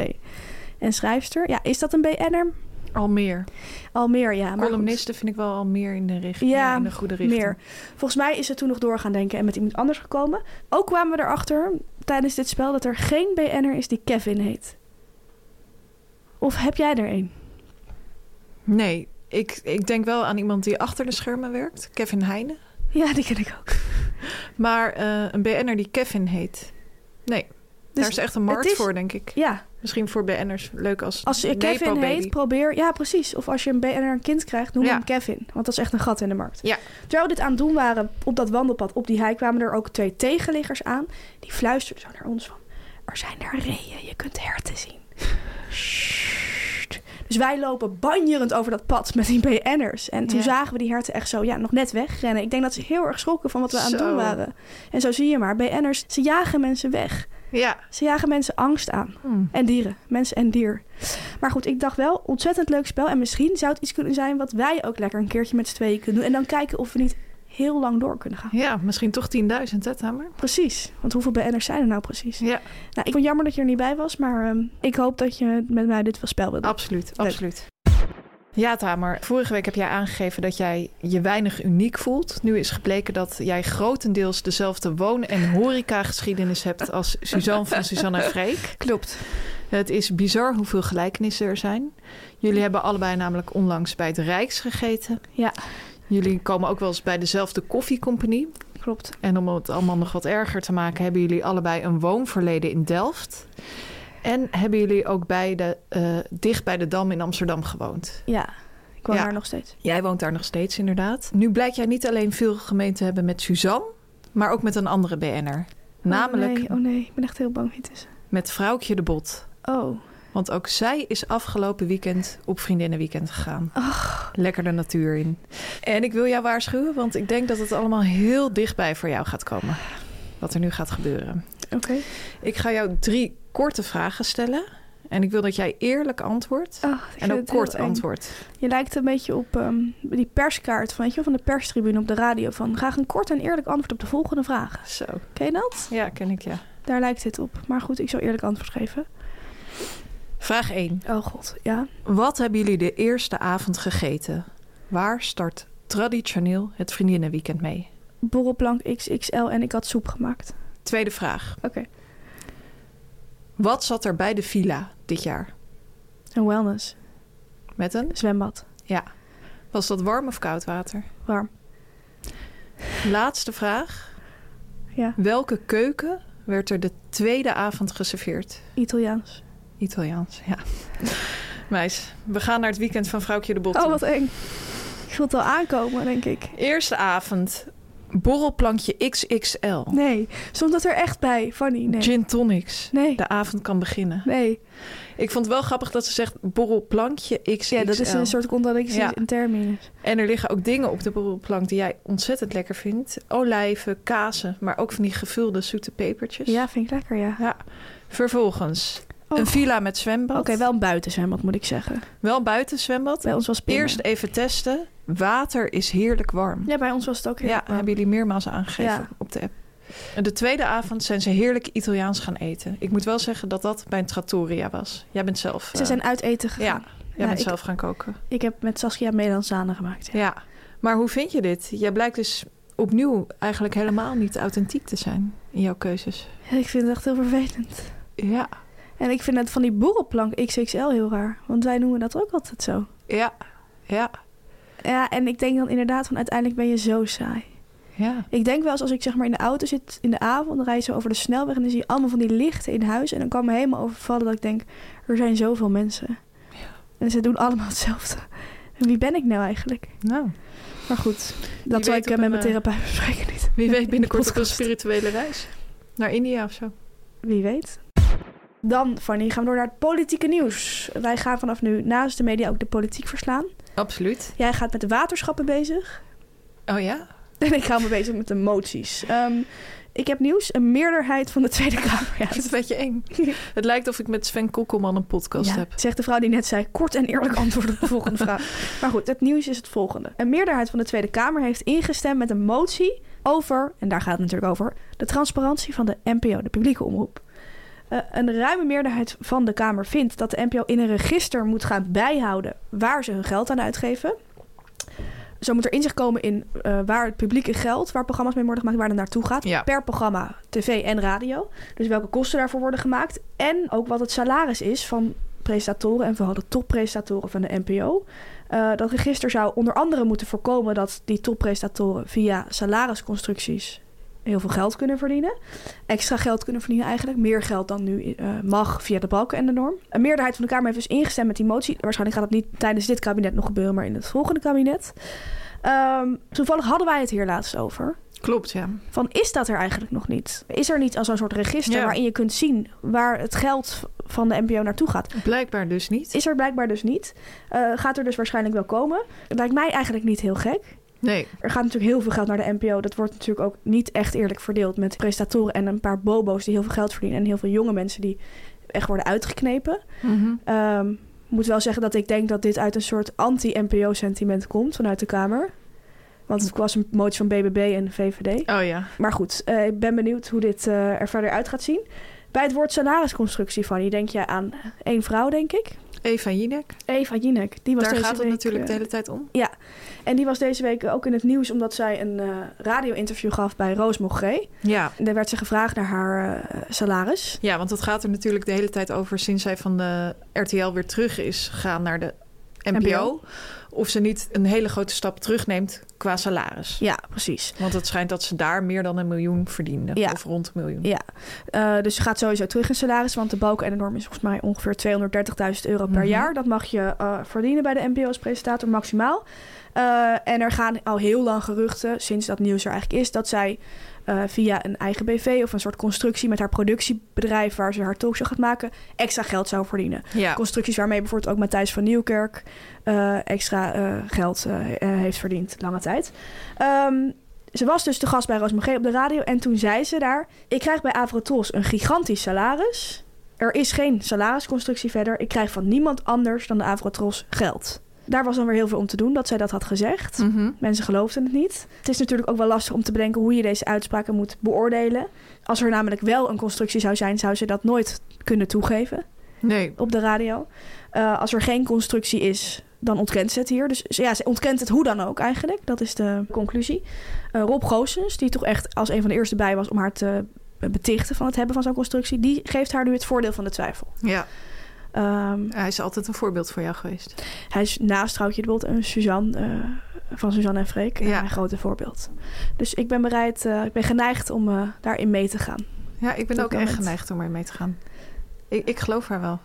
[SPEAKER 2] En schrijfster. Ja, is dat een BN'er?
[SPEAKER 1] Al meer.
[SPEAKER 2] Al meer, ja. Maar goed,
[SPEAKER 1] Columnisten vind ik wel al meer in de richting.
[SPEAKER 2] Ja,
[SPEAKER 1] Ja, in de goede richting.
[SPEAKER 2] meer. Volgens mij is ze toen nog door gaan denken en met iemand anders gekomen. Ook kwamen we erachter tijdens dit spel dat er geen BN'er is die Kevin heet. Of heb jij er een?
[SPEAKER 1] Nee, ik, ik denk wel aan iemand die achter de schermen werkt. Kevin Heijnen.
[SPEAKER 2] Ja, die ken ik ook.
[SPEAKER 1] Maar eh, een BN'er die Kevin heet. Nee, daar is echt een markt
[SPEAKER 2] Dus is-
[SPEAKER 1] voor, denk ik.
[SPEAKER 2] Ja,
[SPEAKER 1] Misschien voor BN'ers leuk als
[SPEAKER 2] Als je Kevin
[SPEAKER 1] Nepo
[SPEAKER 2] heet,
[SPEAKER 1] baby.
[SPEAKER 2] probeer... Ja, precies. Of als je een BNR een kind krijgt, noem
[SPEAKER 1] Ja.
[SPEAKER 2] hem Kevin. Want dat is echt een gat in de markt.
[SPEAKER 1] Ja.
[SPEAKER 2] Terwijl we dit aan het doen waren op dat wandelpad op die hei... kwamen er ook twee tegenliggers aan. Die fluisterden zo naar ons van... Er zijn daar reeën, je kunt herten zien. Sssst. Dus wij lopen banjerend over dat pad met die BN'ers. En toen
[SPEAKER 1] Ja.
[SPEAKER 2] zagen we die herten echt zo ja, nog net wegrennen. Ik denk dat ze heel erg schrokken van wat we aan het
[SPEAKER 1] Zo.
[SPEAKER 2] doen waren. En zo zie je maar, BN'ers, ze jagen mensen weg.
[SPEAKER 1] Ja,
[SPEAKER 2] Ze jagen mensen angst aan.
[SPEAKER 1] Hmm.
[SPEAKER 2] En dieren. Mensen en dier. Maar goed, ik dacht wel, ontzettend leuk spel. En misschien zou het iets kunnen zijn wat wij ook lekker een keertje met z'n tweeën kunnen doen. En dan kijken of we niet heel lang door kunnen gaan.
[SPEAKER 1] ja misschien toch 10.000, hè, Tamer?
[SPEAKER 2] Precies. Want hoeveel BN'ers zijn er nou precies?
[SPEAKER 1] Ja,
[SPEAKER 2] Nou, ik vond jammer dat je er niet bij was. Maar ehm, ik hoop dat je met mij dit wel spel wilt doen.
[SPEAKER 1] absoluut, absoluut. Ja, Tamer, vorige week heb jij aangegeven dat jij je weinig uniek voelt. Nu is gebleken dat jij grotendeels dezelfde woon- en horecageschiedenis hebt als Suzanne van Suzanne en Freek.
[SPEAKER 2] Klopt.
[SPEAKER 1] Het is bizar hoeveel gelijkenissen er zijn. Jullie hebben allebei namelijk onlangs bij het Rijks gegeten.
[SPEAKER 2] Ja,
[SPEAKER 1] Jullie komen ook wel eens bij dezelfde koffiecompagnie.
[SPEAKER 2] klopt.
[SPEAKER 1] En om het allemaal nog wat erger te maken, hebben jullie allebei een woonverleden in Delft. En hebben jullie ook beide eh, dicht bij de Dam in Amsterdam gewoond?
[SPEAKER 2] Ja, ik woon
[SPEAKER 1] Ja.
[SPEAKER 2] daar nog steeds.
[SPEAKER 1] Jij woont daar nog steeds inderdaad. Nu blijkt jij niet alleen veel gemeen te hebben met Suzanne, maar ook met een andere BN'er. Namelijk
[SPEAKER 2] Oh nee, oh nee, ik ben echt heel bang wie het is.
[SPEAKER 1] met Vrouwtje de Bot.
[SPEAKER 2] Oh,
[SPEAKER 1] Want ook zij is afgelopen weekend op vriendinnenweekend gegaan. Lekker de natuur in. En ik wil jou waarschuwen, want ik denk dat het allemaal heel dichtbij voor jou gaat komen. Wat er nu gaat gebeuren.
[SPEAKER 2] oké.
[SPEAKER 1] Ik ga jou drie korte vragen stellen. En ik wil dat jij eerlijk antwoordt.
[SPEAKER 2] Oh, ik vind
[SPEAKER 1] en ook
[SPEAKER 2] het heel
[SPEAKER 1] kort
[SPEAKER 2] eng.
[SPEAKER 1] antwoord.
[SPEAKER 2] Je lijkt een beetje op ehm, die perskaart van, weet je, wel, van de perstribune op de radio. Van graag een kort en eerlijk antwoord op de volgende vraag.
[SPEAKER 1] Zo.
[SPEAKER 2] Ken je dat?
[SPEAKER 1] Ja, ken ik ja.
[SPEAKER 2] Daar lijkt dit op. Maar goed, ik zal eerlijk antwoord geven.
[SPEAKER 1] Vraag 1.
[SPEAKER 2] Oh god, ja.
[SPEAKER 1] Wat hebben jullie de eerste avond gegeten? Waar start traditioneel het vriendinnenweekend mee?
[SPEAKER 2] Borrelplank XXL en ik had soep gemaakt.
[SPEAKER 1] Tweede vraag.
[SPEAKER 2] Oké.
[SPEAKER 1] Wat zat er bij de villa dit jaar?
[SPEAKER 2] Een wellness.
[SPEAKER 1] Met een?
[SPEAKER 2] Zwembad.
[SPEAKER 1] Ja. Was dat warm of koud water?
[SPEAKER 2] Warm.
[SPEAKER 1] Laatste vraag.
[SPEAKER 2] Ja.
[SPEAKER 1] Welke keuken werd er de tweede avond geserveerd?
[SPEAKER 2] Italiaans.
[SPEAKER 1] Italiaans, ja. Meis, we gaan naar het weekend van Vrouwtje de Bot.
[SPEAKER 2] Oh,
[SPEAKER 1] toe.
[SPEAKER 2] wat eng. Ik voel het al aankomen, denk ik.
[SPEAKER 1] Eerste avond. Borrelplankje XXL.
[SPEAKER 2] Nee, stond dat er echt bij, Fanny? Nee.
[SPEAKER 1] Gin tonics.
[SPEAKER 2] Nee.
[SPEAKER 1] De avond kan beginnen.
[SPEAKER 2] Nee.
[SPEAKER 1] Ik vond het wel grappig dat ze zegt borrelplankje XXL.
[SPEAKER 2] Ja, dat is een soort contradictie
[SPEAKER 1] Ja.
[SPEAKER 2] in termen.
[SPEAKER 1] En er liggen ook dingen op de borrelplank die jij ontzettend lekker vindt. Olijven, kazen, maar ook van die gevulde zoete pepertjes.
[SPEAKER 2] Ja, vind ik lekker, ja.
[SPEAKER 1] Ja. Vervolgens
[SPEAKER 2] Oh.
[SPEAKER 1] een villa met zwembad.
[SPEAKER 2] Oké, wel een buitenzwembad moet ik zeggen.
[SPEAKER 1] Wel buiten zwembad.
[SPEAKER 2] Bij ons was pinnen.
[SPEAKER 1] Eerst even testen. Water is heerlijk warm.
[SPEAKER 2] Ja, bij ons was het ook heel
[SPEAKER 1] Ja,
[SPEAKER 2] warm.
[SPEAKER 1] hebben jullie meermaals aangegeven
[SPEAKER 2] Ja.
[SPEAKER 1] op de app. En De tweede avond zijn ze heerlijk Italiaans gaan eten. Ik moet wel zeggen dat dat bij een trattoria was. Jij bent zelf.
[SPEAKER 2] Ze
[SPEAKER 1] eh,
[SPEAKER 2] zijn uit eten gegaan.
[SPEAKER 1] ja, jij
[SPEAKER 2] Ja,
[SPEAKER 1] bent
[SPEAKER 2] ik-
[SPEAKER 1] zelf gaan koken.
[SPEAKER 2] Ik heb met Saskia melanzane gemaakt. ja.
[SPEAKER 1] Ja. Maar hoe vind je dit? Jij blijkt dus opnieuw eigenlijk helemaal niet authentiek te zijn in jouw keuzes.
[SPEAKER 2] Ik vind het echt heel vervelend.
[SPEAKER 1] Ja.
[SPEAKER 2] En ik vind het van die boerenplank XXL heel raar. Want wij noemen dat ook altijd zo.
[SPEAKER 1] Ja. Ja.
[SPEAKER 2] Ja, en ik denk dan inderdaad van uiteindelijk ben je zo saai.
[SPEAKER 1] Ja.
[SPEAKER 2] Ik denk wel eens als ik zeg maar in de auto zit in de avond, dan rij je zo over de snelweg en dan zie je allemaal van die lichten in huis. En dan kan me helemaal overvallen dat ik denk, er zijn zoveel mensen. En ze doen allemaal hetzelfde. En wie ben ik nou eigenlijk?
[SPEAKER 1] Nou.
[SPEAKER 2] Maar goed,
[SPEAKER 1] weet
[SPEAKER 2] dat zal ik
[SPEAKER 1] op
[SPEAKER 2] eh,
[SPEAKER 1] een,
[SPEAKER 2] met mijn
[SPEAKER 1] eh,
[SPEAKER 2] therapeut bespreken niet.
[SPEAKER 1] Wie weet binnenkort ook een
[SPEAKER 2] Podcast.
[SPEAKER 1] spirituele reis. Naar India of zo.
[SPEAKER 2] Wie weet. Dan, Fanny, gaan we door naar het politieke nieuws. Wij gaan vanaf nu naast de media ook de politiek verslaan.
[SPEAKER 1] Absoluut.
[SPEAKER 2] Jij gaat met de waterschappen bezig.
[SPEAKER 1] Oh ja?
[SPEAKER 2] En ik ga me bezig met de moties. Ehm, ik heb nieuws. Een meerderheid van de Tweede Kamer. Ja,
[SPEAKER 1] Het is een beetje eng. Het lijkt of ik met Sven Kokkelman een podcast
[SPEAKER 2] Ja,
[SPEAKER 1] heb.
[SPEAKER 2] Zegt de vrouw die net zei, kort en eerlijk antwoord op de volgende vraag. Maar goed, het nieuws is het volgende. Een meerderheid van de Tweede Kamer heeft ingestemd met een motie over, en daar gaat het natuurlijk over, de transparantie van de NPO, de publieke omroep. Eh, een ruime meerderheid van de Kamer vindt dat de NPO in een register moet gaan bijhouden waar ze hun geld aan uitgeven. Zo moet er inzicht komen in eh, waar het publieke geld, waar programma's mee worden gemaakt, waar het naartoe gaat.
[SPEAKER 1] Ja.
[SPEAKER 2] Per programma, tv en radio. Dus welke kosten daarvoor worden gemaakt. En ook wat het salaris is van presentatoren en vooral de toppresentatoren van de NPO. Eh, dat register zou onder andere moeten voorkomen dat die toppresentatoren via salarisconstructies heel veel geld kunnen verdienen. Extra geld kunnen verdienen eigenlijk. Meer geld dan nu eh, mag via de balken en de norm. Een meerderheid van de Kamer heeft dus ingestemd met die motie. Waarschijnlijk gaat dat niet tijdens dit kabinet nog gebeuren, maar in het volgende kabinet. Ehm, toevallig hadden wij het hier laatst over.
[SPEAKER 1] Klopt, ja.
[SPEAKER 2] Van is dat er eigenlijk nog niet? Is er niet als een soort register
[SPEAKER 1] Ja.
[SPEAKER 2] waarin je kunt zien waar het geld van de NPO naartoe gaat?
[SPEAKER 1] Blijkbaar dus niet.
[SPEAKER 2] Is er blijkbaar dus niet. Eh, gaat er dus waarschijnlijk wel komen. Lijkt mij eigenlijk niet heel gek.
[SPEAKER 1] Nee.
[SPEAKER 2] Er gaat natuurlijk heel veel geld naar de NPO. Dat wordt natuurlijk ook niet echt eerlijk verdeeld met prestatoren en een paar bobo's die heel veel geld verdienen. En heel veel jonge mensen die echt worden uitgeknepen.
[SPEAKER 1] Mhm.
[SPEAKER 2] Ehm, Ik moet wel zeggen dat ik denk dat dit uit een soort anti-NPO-sentiment komt vanuit de Kamer. Want het was een motie van BBB en VVD.
[SPEAKER 1] Oh ja.
[SPEAKER 2] Maar goed, eh, ik ben benieuwd hoe dit eh, er verder uit gaat zien. Bij het woord salarisconstructie, Fanny, denk je aan één vrouw, denk ik.
[SPEAKER 1] Eva Jinek.
[SPEAKER 2] Eva Jinek, die was
[SPEAKER 1] Daar
[SPEAKER 2] deze
[SPEAKER 1] gaat het
[SPEAKER 2] week,
[SPEAKER 1] natuurlijk
[SPEAKER 2] eh,
[SPEAKER 1] de hele tijd om.
[SPEAKER 2] En die was deze week ook in het nieuws omdat zij een eh, radio-interview gaf bij Roos Mogré.
[SPEAKER 1] Ja.
[SPEAKER 2] En daar werd ze gevraagd naar haar eh, salaris.
[SPEAKER 1] Ja, want dat gaat er natuurlijk de hele tijd over sinds zij van de RTL weer terug is gegaan naar de NPO.
[SPEAKER 2] NPO.
[SPEAKER 1] of ze niet een hele grote stap terugneemt qua salaris.
[SPEAKER 2] Ja, precies.
[SPEAKER 1] Want het schijnt dat ze daar meer dan een miljoen verdienden.
[SPEAKER 2] Ja.
[SPEAKER 1] Of rond een miljoen.
[SPEAKER 2] Ja, Eh, dus je gaat sowieso terug in salaris, want de balken en de norm is volgens mij ongeveer 230.000 euro per jaar. Dat mag je eh, verdienen bij de NPO als presentator maximaal. Eh, en er gaan al heel lang geruchten, sinds dat nieuws er eigenlijk is, dat zij eh, via een eigen BV of een soort constructie met haar productiebedrijf waar ze haar talkshow gaat maken, extra geld zou verdienen.
[SPEAKER 1] Ja.
[SPEAKER 2] Constructies waarmee bijvoorbeeld ook Matthijs van Nieuwkerk eh, extra eh, geld eh, eh, heeft verdiend lange tijd. Ehm, ze was dus de gast bij Roos Magee op de radio en toen zei ze daar... Ik krijg bij Avrotros een gigantisch salaris. Er is geen salarisconstructie verder. Ik krijg van niemand anders dan de Avrotros geld. Daar was dan weer heel veel om te doen dat zij dat had gezegd. Mensen geloofden het niet. Het is natuurlijk ook wel lastig om te bedenken hoe je deze uitspraken moet beoordelen. Als er namelijk wel een constructie zou zijn, zou ze dat nooit kunnen toegeven
[SPEAKER 1] Nee.
[SPEAKER 2] op de radio. Eh, als er geen constructie is, dan ontkent ze het hier. Dus ze- ja, ze ontkent het hoe dan ook eigenlijk. Dat is de conclusie. Eh, Rob Goossens, die toch echt als een van de eerste bij was om haar te betichten van het hebben van zo'n constructie, die geeft haar nu het voordeel van de twijfel.
[SPEAKER 1] Ja.
[SPEAKER 2] Ehm,
[SPEAKER 1] Hij is altijd een voorbeeld voor jou geweest.
[SPEAKER 2] hij is naast Troutje de Bot en Suzanne eh, van Suzanne en Freek
[SPEAKER 1] Ja.
[SPEAKER 2] ja. een grote voorbeeld. Dus ik ben bereid, eh, ik ben geneigd om eh, daarin mee te gaan.
[SPEAKER 1] Ja, ik ben
[SPEAKER 2] Op
[SPEAKER 1] ook
[SPEAKER 2] dat
[SPEAKER 1] echt
[SPEAKER 2] moment.
[SPEAKER 1] geneigd om er mee te gaan. Ik, ik geloof haar wel.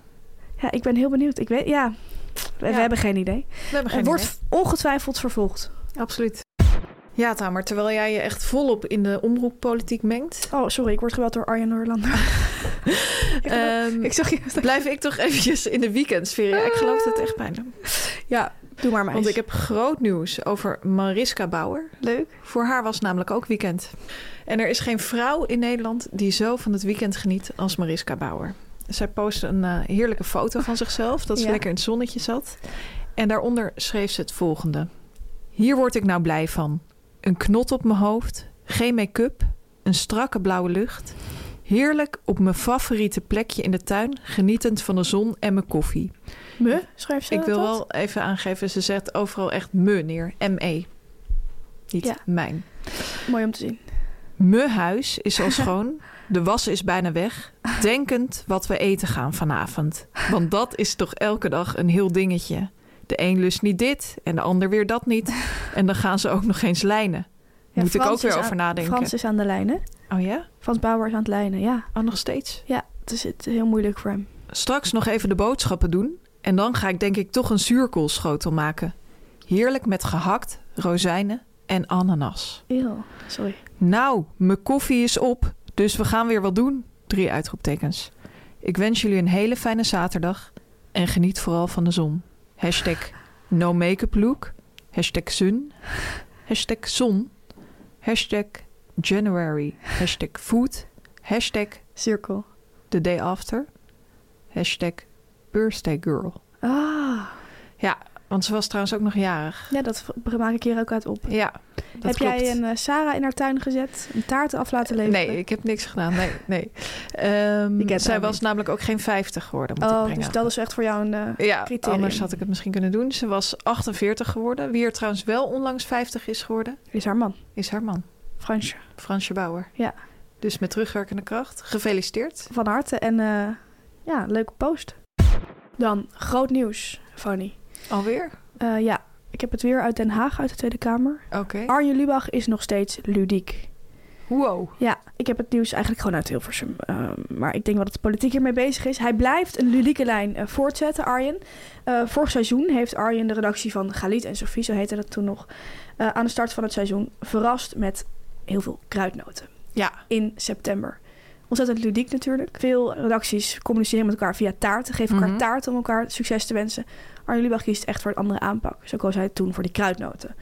[SPEAKER 2] Ja, ik ben heel benieuwd. Ik weet, ja, we, we
[SPEAKER 1] Ja.
[SPEAKER 2] hebben geen idee.
[SPEAKER 1] We hebben geen
[SPEAKER 2] Het wordt ongetwijfeld vervolgd.
[SPEAKER 1] idee. Absoluut. Ja, Tamer, terwijl jij je echt volop in de omroeppolitiek mengt...
[SPEAKER 2] Oh, sorry, ik word gebeld door Arjen Noorlander. ik,
[SPEAKER 1] ehm,
[SPEAKER 2] ik zag je.
[SPEAKER 1] blijf ik toch eventjes in de weekendsferie. Ja, ik geloof dat echt bijna.
[SPEAKER 2] Ja, doe maar maar.
[SPEAKER 1] Want ik heb groot nieuws over Mariska Bauer.
[SPEAKER 2] leuk.
[SPEAKER 1] Voor haar was namelijk ook weekend. En er is geen vrouw in Nederland die zo van het weekend geniet als Mariska Bauer. Zij postte een eh, heerlijke foto van zichzelf, dat ze
[SPEAKER 2] Ja.
[SPEAKER 1] lekker in het zonnetje zat. En daaronder schreef ze het volgende. Hier word ik nou blij van. Een knot op mijn hoofd, geen make-up, een strakke blauwe lucht. Heerlijk op mijn favoriete plekje in de tuin, genietend van de zon en mijn koffie.
[SPEAKER 2] Me, schrijf ze
[SPEAKER 1] Ik wil
[SPEAKER 2] dat?
[SPEAKER 1] wel even aangeven, ze zet overal echt me neer. M-E. Niet
[SPEAKER 2] Ja.
[SPEAKER 1] mijn.
[SPEAKER 2] Mooi om te zien.
[SPEAKER 1] Mijn huis is al schoon. De was is bijna weg. Denkend wat we eten gaan vanavond. Want dat is toch elke dag een heel dingetje. De een lust niet dit en de ander weer dat niet. En dan gaan ze ook nog eens lijnen.
[SPEAKER 2] Ja,
[SPEAKER 1] Moet ik
[SPEAKER 2] Frans
[SPEAKER 1] ook weer
[SPEAKER 2] is aan-
[SPEAKER 1] over nadenken.
[SPEAKER 2] Frans is aan de lijnen.
[SPEAKER 1] Oh ja?
[SPEAKER 2] Frans Bauer is aan het lijnen, ja.
[SPEAKER 1] Oh, nog steeds?
[SPEAKER 2] Ja, het is het is heel moeilijk voor hem.
[SPEAKER 1] Straks nog even de boodschappen doen. En dan ga ik denk ik toch een zuurkoolschotel maken. Heerlijk met gehakt, rozijnen en ananas.
[SPEAKER 2] Eeuw, sorry.
[SPEAKER 1] Nou, mijn koffie is op, dus we gaan weer wat doen. Drie uitroeptekens. Ik wens jullie een hele fijne zaterdag en geniet vooral van de zon. Hashtag no make-up look. Hashtag sun. Hashtag zon. Hashtag January. Hashtag food. Hashtag
[SPEAKER 2] Cirkel.
[SPEAKER 1] the day after. Hashtag birthday girl.
[SPEAKER 2] Ah,
[SPEAKER 1] Ja, want ze was trouwens ook nog jarig.
[SPEAKER 2] ja, dat v- maak ik hier ook uit op.
[SPEAKER 1] Ja, dat
[SPEAKER 2] heb
[SPEAKER 1] klopt.
[SPEAKER 2] jij een eh, Sarah in haar tuin gezet? Een taart af laten leveren?
[SPEAKER 1] Nee, ik heb niks gedaan. Nee, nee. Ehm,
[SPEAKER 2] Ik ken
[SPEAKER 1] zij
[SPEAKER 2] haar
[SPEAKER 1] was
[SPEAKER 2] niet.
[SPEAKER 1] namelijk ook geen 50 geworden. Moet ik
[SPEAKER 2] Oh,
[SPEAKER 1] brengen.
[SPEAKER 2] dus dat is echt voor jou een eh,
[SPEAKER 1] ja,
[SPEAKER 2] criterium.
[SPEAKER 1] anders had ik het misschien kunnen doen. Ze was 48 geworden. Wie er trouwens wel onlangs 50 is geworden,
[SPEAKER 2] Is haar man,
[SPEAKER 1] is haar man,
[SPEAKER 2] Fransje.
[SPEAKER 1] Fransje Bauer.
[SPEAKER 2] Ja.
[SPEAKER 1] Dus met terugwerkende kracht. Gefeliciteerd.
[SPEAKER 2] Van harte en eh, ja, leuke post. Dan, groot nieuws, Fanny.
[SPEAKER 1] Alweer?
[SPEAKER 2] Eh, ja, ik heb het weer uit Den Haag, uit de Tweede Kamer.
[SPEAKER 1] Oké.
[SPEAKER 2] Arjen Lubach is nog steeds ludiek.
[SPEAKER 1] Wow.
[SPEAKER 2] Ja, ik heb het nieuws eigenlijk gewoon uit Hilversum. eh, maar ik denk wel dat de politiek hiermee bezig is. Hij blijft een ludieke lijn eh, voortzetten, Arjen. Eh, vorig seizoen heeft Arjen de redactie van Galit en Sophie, zo heette dat toen nog... eh, aan de start van het seizoen verrast met heel veel kruidnoten
[SPEAKER 1] Ja.
[SPEAKER 2] in september. Ontzettend ludiek natuurlijk. Veel redacties communiceren met elkaar via taarten. Geven elkaar
[SPEAKER 1] Mhm.
[SPEAKER 2] taarten om elkaar succes te wensen. Arjen Lubach kiest echt voor een andere aanpak. Zo koos hij toen voor die kruidnoten.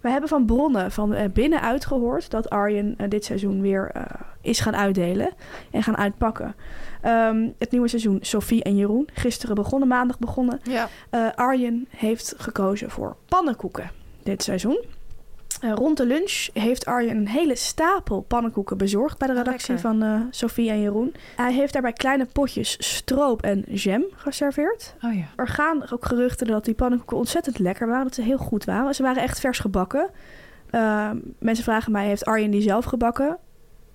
[SPEAKER 2] We hebben van bronnen van eh, binnenuit gehoord... dat Arjen eh, dit seizoen weer eh, is gaan uitdelen en gaan uitpakken. Ehm, het nieuwe seizoen Sophie en Jeroen. Gisteren begonnen, maandag begonnen.
[SPEAKER 1] Ja.
[SPEAKER 2] Eh, Arjen heeft gekozen voor pannenkoeken dit seizoen. Eh, rond de lunch heeft Arjen een hele stapel pannenkoeken bezorgd bij de redactie
[SPEAKER 1] lekker.
[SPEAKER 2] van eh Sophie en Jeroen. Hij heeft daarbij kleine potjes stroop en jam geserveerd.
[SPEAKER 1] Oh ja.
[SPEAKER 2] Er gaan ook geruchten dat die pannenkoeken ontzettend lekker waren, dat ze heel goed waren. Ze waren echt vers gebakken. Eh, mensen vragen mij, heeft Arjen die zelf gebakken?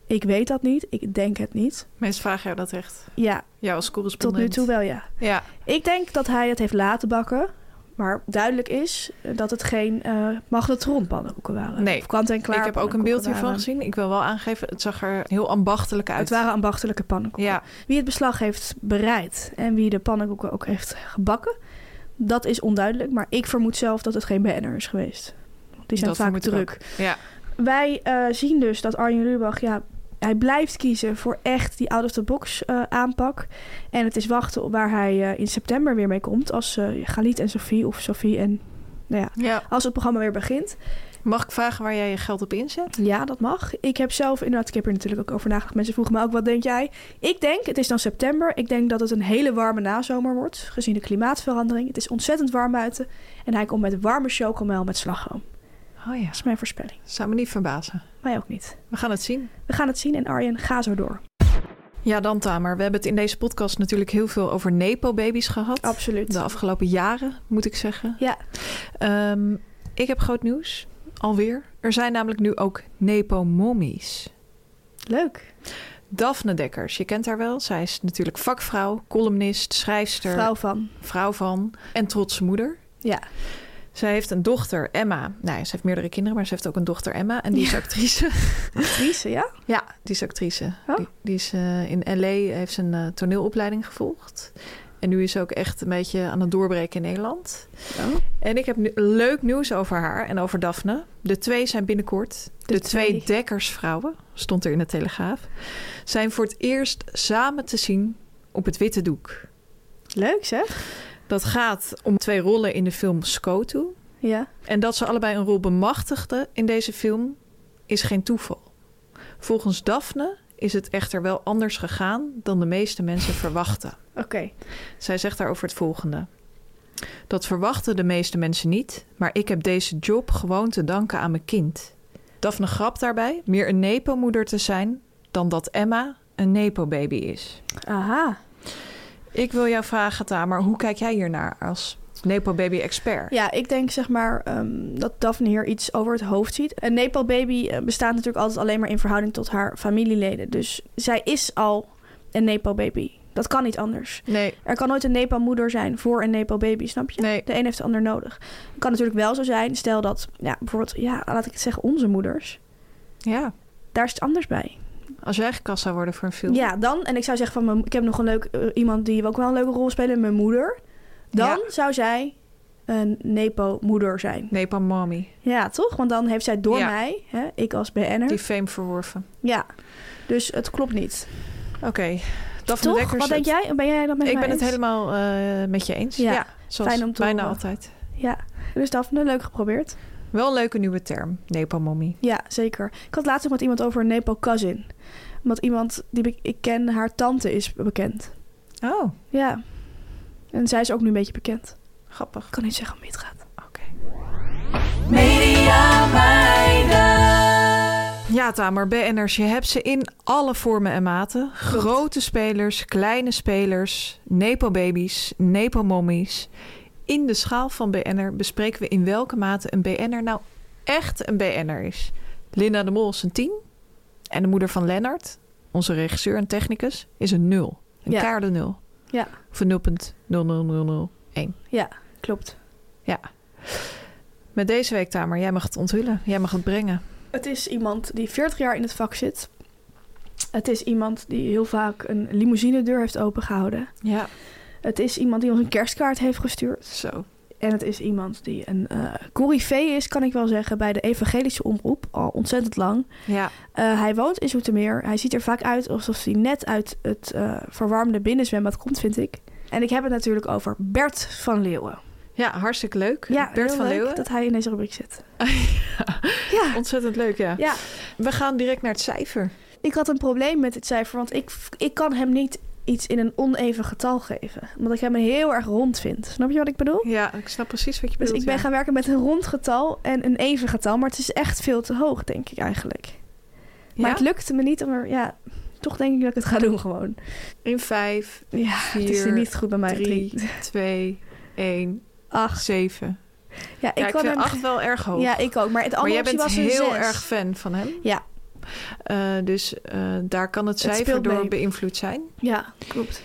[SPEAKER 2] Ik weet dat niet, ik denk het niet.
[SPEAKER 1] Mensen vragen jou dat echt.
[SPEAKER 2] Ja,
[SPEAKER 1] Jou als
[SPEAKER 2] tot nu
[SPEAKER 1] correspondent.
[SPEAKER 2] toe wel ja.
[SPEAKER 1] Ja.
[SPEAKER 2] Ik denk dat hij het heeft laten bakken. Maar duidelijk is dat het geen eh magnetronpannenkoeken waren.
[SPEAKER 1] Nee.
[SPEAKER 2] Of kant en klaar.
[SPEAKER 1] ik heb ook een beeld
[SPEAKER 2] pannenkoeken
[SPEAKER 1] hiervan
[SPEAKER 2] waren.
[SPEAKER 1] gezien. Ik wil wel aangeven, het zag er heel ambachtelijk uit.
[SPEAKER 2] Het waren ambachtelijke pannenkoeken.
[SPEAKER 1] Ja,
[SPEAKER 2] Wie het beslag heeft bereid en wie de pannenkoeken ook heeft gebakken, dat is onduidelijk. Maar ik vermoed zelf dat het geen BN'er is geweest. Die zijn
[SPEAKER 1] dat
[SPEAKER 2] vaak
[SPEAKER 1] vermoed ik
[SPEAKER 2] druk.
[SPEAKER 1] ook. Ja,
[SPEAKER 2] Wij eh, zien dus dat Arjen Lubach, ja, hij blijft kiezen voor echt die out-of-the-box eh, aanpak. En het is wachten op waar hij eh, in september weer mee komt. Als eh Galit en Sophie of Sophie en... Nou ja,
[SPEAKER 1] ja.
[SPEAKER 2] als het programma weer begint.
[SPEAKER 1] Mag ik vragen waar jij je geld op inzet?
[SPEAKER 2] Ja, dat mag. Ik heb zelf inderdaad, ik heb er natuurlijk ook over nagedacht. Mensen vroegen me ook, wat denk jij? Ik denk, het is dan september. Ik denk dat het een hele warme nazomer wordt. Gezien de klimaatverandering. Het is ontzettend warm buiten. En hij komt met warme chocomel met slagroom.
[SPEAKER 1] Oh ja,
[SPEAKER 2] Dat is mijn voorspelling.
[SPEAKER 1] zou me niet verbazen.
[SPEAKER 2] Mij ook niet.
[SPEAKER 1] We gaan het zien.
[SPEAKER 2] We gaan het zien en Arjen, ga zo door.
[SPEAKER 1] Ja, dan Tamer. We hebben het in deze podcast natuurlijk heel veel over Nepo-baby's gehad.
[SPEAKER 2] Absoluut.
[SPEAKER 1] De afgelopen jaren, moet ik zeggen.
[SPEAKER 2] Ja,
[SPEAKER 1] Ehm, ik heb groot nieuws. Alweer. Er zijn namelijk nu ook Nepo-mommies.
[SPEAKER 2] leuk.
[SPEAKER 1] Daphne Dekkers, je kent haar wel. Zij is natuurlijk vakvrouw, columnist, schrijfster,
[SPEAKER 2] Vrouw van.
[SPEAKER 1] vrouw van en trotse moeder.
[SPEAKER 2] Ja.
[SPEAKER 1] Zij heeft een dochter, Emma. Nou, ja, ze heeft meerdere kinderen, maar ze heeft ook een dochter, Emma. En die is actrice.
[SPEAKER 2] Actrice, ja?
[SPEAKER 1] Ja, die is actrice.
[SPEAKER 2] Oh.
[SPEAKER 1] Die, die is eh, in L.A. heeft ze een eh, toneelopleiding gevolgd. En nu is ze ook echt een beetje aan het doorbreken in Nederland.
[SPEAKER 2] Oh.
[SPEAKER 1] En ik heb nu leuk nieuws over haar en over Daphne. De twee zijn binnenkort de,
[SPEAKER 2] De
[SPEAKER 1] twee.
[SPEAKER 2] twee.
[SPEAKER 1] dekkersvrouwen, stond er in de Telegraaf. Zijn voor het eerst samen te zien op het witte doek.
[SPEAKER 2] Leuk zeg.
[SPEAKER 1] Dat gaat om twee rollen in de film Skotu.
[SPEAKER 2] Ja.
[SPEAKER 1] En dat ze allebei een rol bemachtigden in deze film is geen toeval. Volgens Daphne is het echter wel anders gegaan dan de meeste mensen verwachten.
[SPEAKER 2] Oké.
[SPEAKER 1] Zij zegt daarover het volgende. Dat verwachten de meeste mensen niet, maar ik heb deze job gewoon te danken aan mijn kind. Daphne grapt daarbij meer een nepo-moeder te zijn dan dat Emma een nepo-baby is.
[SPEAKER 2] Aha.
[SPEAKER 1] Ik wil jou vragen, Tamer, hoe kijk jij hiernaar als nepo-baby-expert?
[SPEAKER 2] Ja, ik denk zeg maar ehm, dat Daphne hier iets over het hoofd ziet. Een Nepal-baby eh, bestaat natuurlijk altijd alleen maar in verhouding tot haar familieleden. Dus zij is al een Nepal-baby. Dat kan niet anders.
[SPEAKER 1] Nee,
[SPEAKER 2] Er kan nooit een Nepal-moeder zijn voor een Nepal-baby, snap je?
[SPEAKER 1] nee.
[SPEAKER 2] De een heeft de ander nodig. Het kan natuurlijk wel zo zijn, stel dat, ja, bijvoorbeeld, ja, laat ik het zeggen, onze moeders.
[SPEAKER 1] Ja,
[SPEAKER 2] Daar is het anders bij.
[SPEAKER 1] als jij gekast zou worden voor een film.
[SPEAKER 2] Ja, dan. En ik zou zeggen van, mijn, ik heb nog een leuk, eh, iemand die ook wel een leuke rol speelt, mijn moeder. Dan
[SPEAKER 1] Ja.
[SPEAKER 2] zou zij een Nepo-moeder zijn.
[SPEAKER 1] Nepa Mommy,
[SPEAKER 2] Ja, toch? Want dan heeft zij door
[SPEAKER 1] Ja.
[SPEAKER 2] mij, hè, ik als BN'er.
[SPEAKER 1] die fame verworven.
[SPEAKER 2] Ja, dus het klopt niet.
[SPEAKER 1] Oké, Daphne
[SPEAKER 2] toch?
[SPEAKER 1] Dekkers.
[SPEAKER 2] Wat denk jij? Ben jij dat met
[SPEAKER 1] Ik
[SPEAKER 2] mij
[SPEAKER 1] ben het
[SPEAKER 2] eens?
[SPEAKER 1] helemaal eh, met je eens. Ja,
[SPEAKER 2] Ja,
[SPEAKER 1] zoals
[SPEAKER 2] fijn om te
[SPEAKER 1] bijna
[SPEAKER 2] horen.
[SPEAKER 1] altijd.
[SPEAKER 2] Ja, dus Daphne, leuk geprobeerd.
[SPEAKER 1] Wel een leuke nieuwe term, Nepa Mommy.
[SPEAKER 2] Ja, zeker. Ik had laatst nog met iemand over een Nepo-cousin. Want iemand die be- ik ken, haar tante is bekend.
[SPEAKER 1] Oh,
[SPEAKER 2] Ja. En zij is ook nu een beetje bekend.
[SPEAKER 1] grappig.
[SPEAKER 2] Ik kan niet zeggen om wie het gaat.
[SPEAKER 1] Oké. Ja, Tamer, BN'ers, je hebt ze in alle vormen en maten. Grote spelers, kleine spelers, nepo-babies, nepo-mommies. In de schaal van BN'er bespreken we in welke mate een BN'er nou echt een BN'er is. Linda de Mol is een 10 en de moeder van Lennart, onze regisseur en technicus, is een 0. Een
[SPEAKER 2] Ja.
[SPEAKER 1] kaarde 0.
[SPEAKER 2] Ja.
[SPEAKER 1] Of een 0.00001.
[SPEAKER 2] Ja, klopt.
[SPEAKER 1] Ja. Met deze week, Tamer, jij mag het onthullen. Jij mag het brengen.
[SPEAKER 2] Het is iemand die 40 jaar in het vak zit. Het is iemand die heel vaak een limousinedeur heeft opengehouden.
[SPEAKER 1] Ja.
[SPEAKER 2] Het is iemand die ons een kerstkaart heeft gestuurd.
[SPEAKER 1] Zo.
[SPEAKER 2] En het is iemand die een eh coryfee is, kan ik wel zeggen, bij de evangelische omroep. Al ontzettend lang.
[SPEAKER 1] Ja.
[SPEAKER 2] Eh, hij woont in Zoetermeer. Hij ziet er vaak uit alsof hij net uit het eh, verwarmde binnenzwembad komt, vind ik. En ik heb het natuurlijk over Bert van Leeuwen.
[SPEAKER 1] Ja, hartstikke leuk. Bert
[SPEAKER 2] heel
[SPEAKER 1] van
[SPEAKER 2] leuk
[SPEAKER 1] Leeuwen.
[SPEAKER 2] dat hij in deze rubriek zit. ja.
[SPEAKER 1] Ontzettend leuk, ja.
[SPEAKER 2] ja,
[SPEAKER 1] We gaan direct naar het cijfer.
[SPEAKER 2] ik had een probleem met dit cijfer, want ik, ik kan hem niet iets in een oneven getal geven. Omdat ik hem heel erg rond vind. Snap je wat ik bedoel?
[SPEAKER 1] Ja, ik snap precies wat je
[SPEAKER 2] Dus
[SPEAKER 1] bedoelt.
[SPEAKER 2] ik ben
[SPEAKER 1] ja.
[SPEAKER 2] gaan werken met een rond getal en een even getal. Maar het is echt veel te hoog, denk ik eigenlijk. Maar
[SPEAKER 1] Ja?
[SPEAKER 2] het lukte me niet om er... Ja, toch denk ik dat ik het ga doen gewoon.
[SPEAKER 1] In 5,
[SPEAKER 2] Ja, het is
[SPEAKER 1] Vier,
[SPEAKER 2] niet goed bij mij.
[SPEAKER 1] 3,
[SPEAKER 2] Drie.
[SPEAKER 1] 2, 1,
[SPEAKER 2] Acht.
[SPEAKER 1] 7.
[SPEAKER 2] Ja, ik,
[SPEAKER 1] Ja, ik
[SPEAKER 2] kan
[SPEAKER 1] vind
[SPEAKER 2] hem...
[SPEAKER 1] 8 wel erg hoog.
[SPEAKER 2] Ja, ik ook. Maar het
[SPEAKER 1] maar
[SPEAKER 2] andere
[SPEAKER 1] jij
[SPEAKER 2] optie
[SPEAKER 1] bent
[SPEAKER 2] was een
[SPEAKER 1] heel
[SPEAKER 2] zes.
[SPEAKER 1] erg fan van hem.
[SPEAKER 2] Ja.
[SPEAKER 1] Eh, dus eh, daar kan het
[SPEAKER 2] Het
[SPEAKER 1] cijfer
[SPEAKER 2] speelt
[SPEAKER 1] door
[SPEAKER 2] mee.
[SPEAKER 1] beïnvloed zijn.
[SPEAKER 2] Ja, klopt.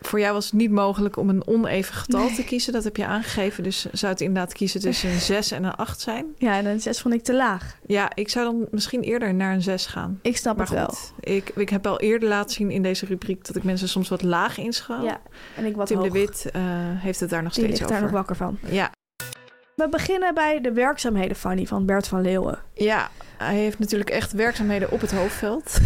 [SPEAKER 1] voor jou was het niet mogelijk om een oneven getal te kiezen. Dat heb je aangegeven. Dus zou het inderdaad kiezen tussen een 6 en een 8 zijn.
[SPEAKER 2] Ja, en een 6 vond ik te laag.
[SPEAKER 1] Ja, ik zou dan misschien eerder naar een 6 gaan.
[SPEAKER 2] Ik snap
[SPEAKER 1] Maar
[SPEAKER 2] het wel.
[SPEAKER 1] goed, ik, ik heb al eerder laten zien in deze rubriek dat ik mensen soms wat laag inschat.
[SPEAKER 2] Ja, en ik wat
[SPEAKER 1] Tim de
[SPEAKER 2] hoog.
[SPEAKER 1] Wit eh, heeft het daar nog
[SPEAKER 2] Die
[SPEAKER 1] steeds
[SPEAKER 2] ligt daar nog
[SPEAKER 1] over.
[SPEAKER 2] wakker van.
[SPEAKER 1] ja.
[SPEAKER 2] We beginnen bij de werkzaamheden, Fanny, van Bert van Leeuwen.
[SPEAKER 1] ja, hij heeft natuurlijk echt werkzaamheden op het hoofdveld.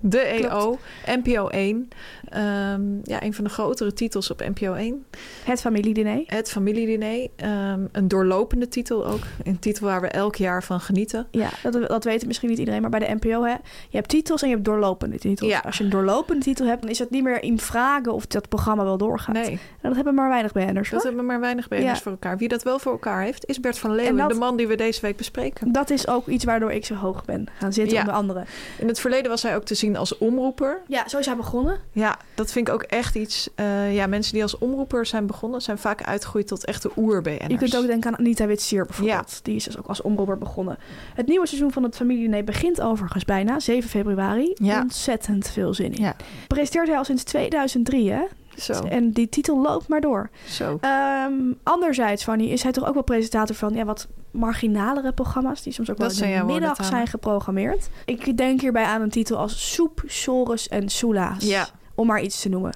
[SPEAKER 1] De E EO, NPO 1. Ehm, ja, een van de grotere titels op NPO 1.
[SPEAKER 2] Het familiediner.
[SPEAKER 1] Het familiediner. ehm, een doorlopende titel ook. Een titel waar we elk jaar van genieten.
[SPEAKER 2] Ja, dat, dat weet misschien niet iedereen, maar bij de NPO, hè, je hebt titels en je hebt doorlopende titels.
[SPEAKER 1] Ja.
[SPEAKER 2] Als je een doorlopende titel hebt, dan is het niet meer in vragen of dat programma wel doorgaat.
[SPEAKER 1] Nee.
[SPEAKER 2] En dat hebben maar weinig BN'ers,
[SPEAKER 1] Dat
[SPEAKER 2] hoor.
[SPEAKER 1] hebben maar weinig BN'ers
[SPEAKER 2] Ja.
[SPEAKER 1] voor elkaar. Wie dat wel voor elkaar heeft, is Bert van Leeuwen.
[SPEAKER 2] En dat-
[SPEAKER 1] De man die we deze week bespreken.
[SPEAKER 2] Dat is ook iets waardoor ik zo hoog ben gaan zitten,
[SPEAKER 1] Ja.
[SPEAKER 2] onder andere.
[SPEAKER 1] In het verleden was hij ook te zien als omroeper.
[SPEAKER 2] Ja, zo is hij begonnen.
[SPEAKER 1] Ja, dat vind ik ook echt iets. eh, ja, mensen die als omroeper zijn begonnen, zijn vaak uitgegroeid tot echte oer-BN'ers.
[SPEAKER 2] Je kunt ook denken aan Anita Witsier bijvoorbeeld. Die is dus ook als omroeper begonnen. Het nieuwe seizoen van het familiediner begint overigens bijna, 7 februari.
[SPEAKER 1] Ja.
[SPEAKER 2] Ontzettend veel zin in.
[SPEAKER 1] Ja,
[SPEAKER 2] Presenteert hij al sinds 2003, hè?
[SPEAKER 1] zo.
[SPEAKER 2] En die titel loopt maar door.
[SPEAKER 1] zo.
[SPEAKER 2] Ehm, anderzijds, Fanny, is hij toch ook wel presentator van ja, wat marginalere programma's... die soms ook wel
[SPEAKER 1] Dat
[SPEAKER 2] in
[SPEAKER 1] zijn
[SPEAKER 2] de
[SPEAKER 1] jouw woorden,
[SPEAKER 2] middag
[SPEAKER 1] Tana.
[SPEAKER 2] zijn geprogrammeerd. Ik denk hierbij aan een titel als Soep, Sores en Soela's.
[SPEAKER 1] Ja.
[SPEAKER 2] Om maar iets te noemen.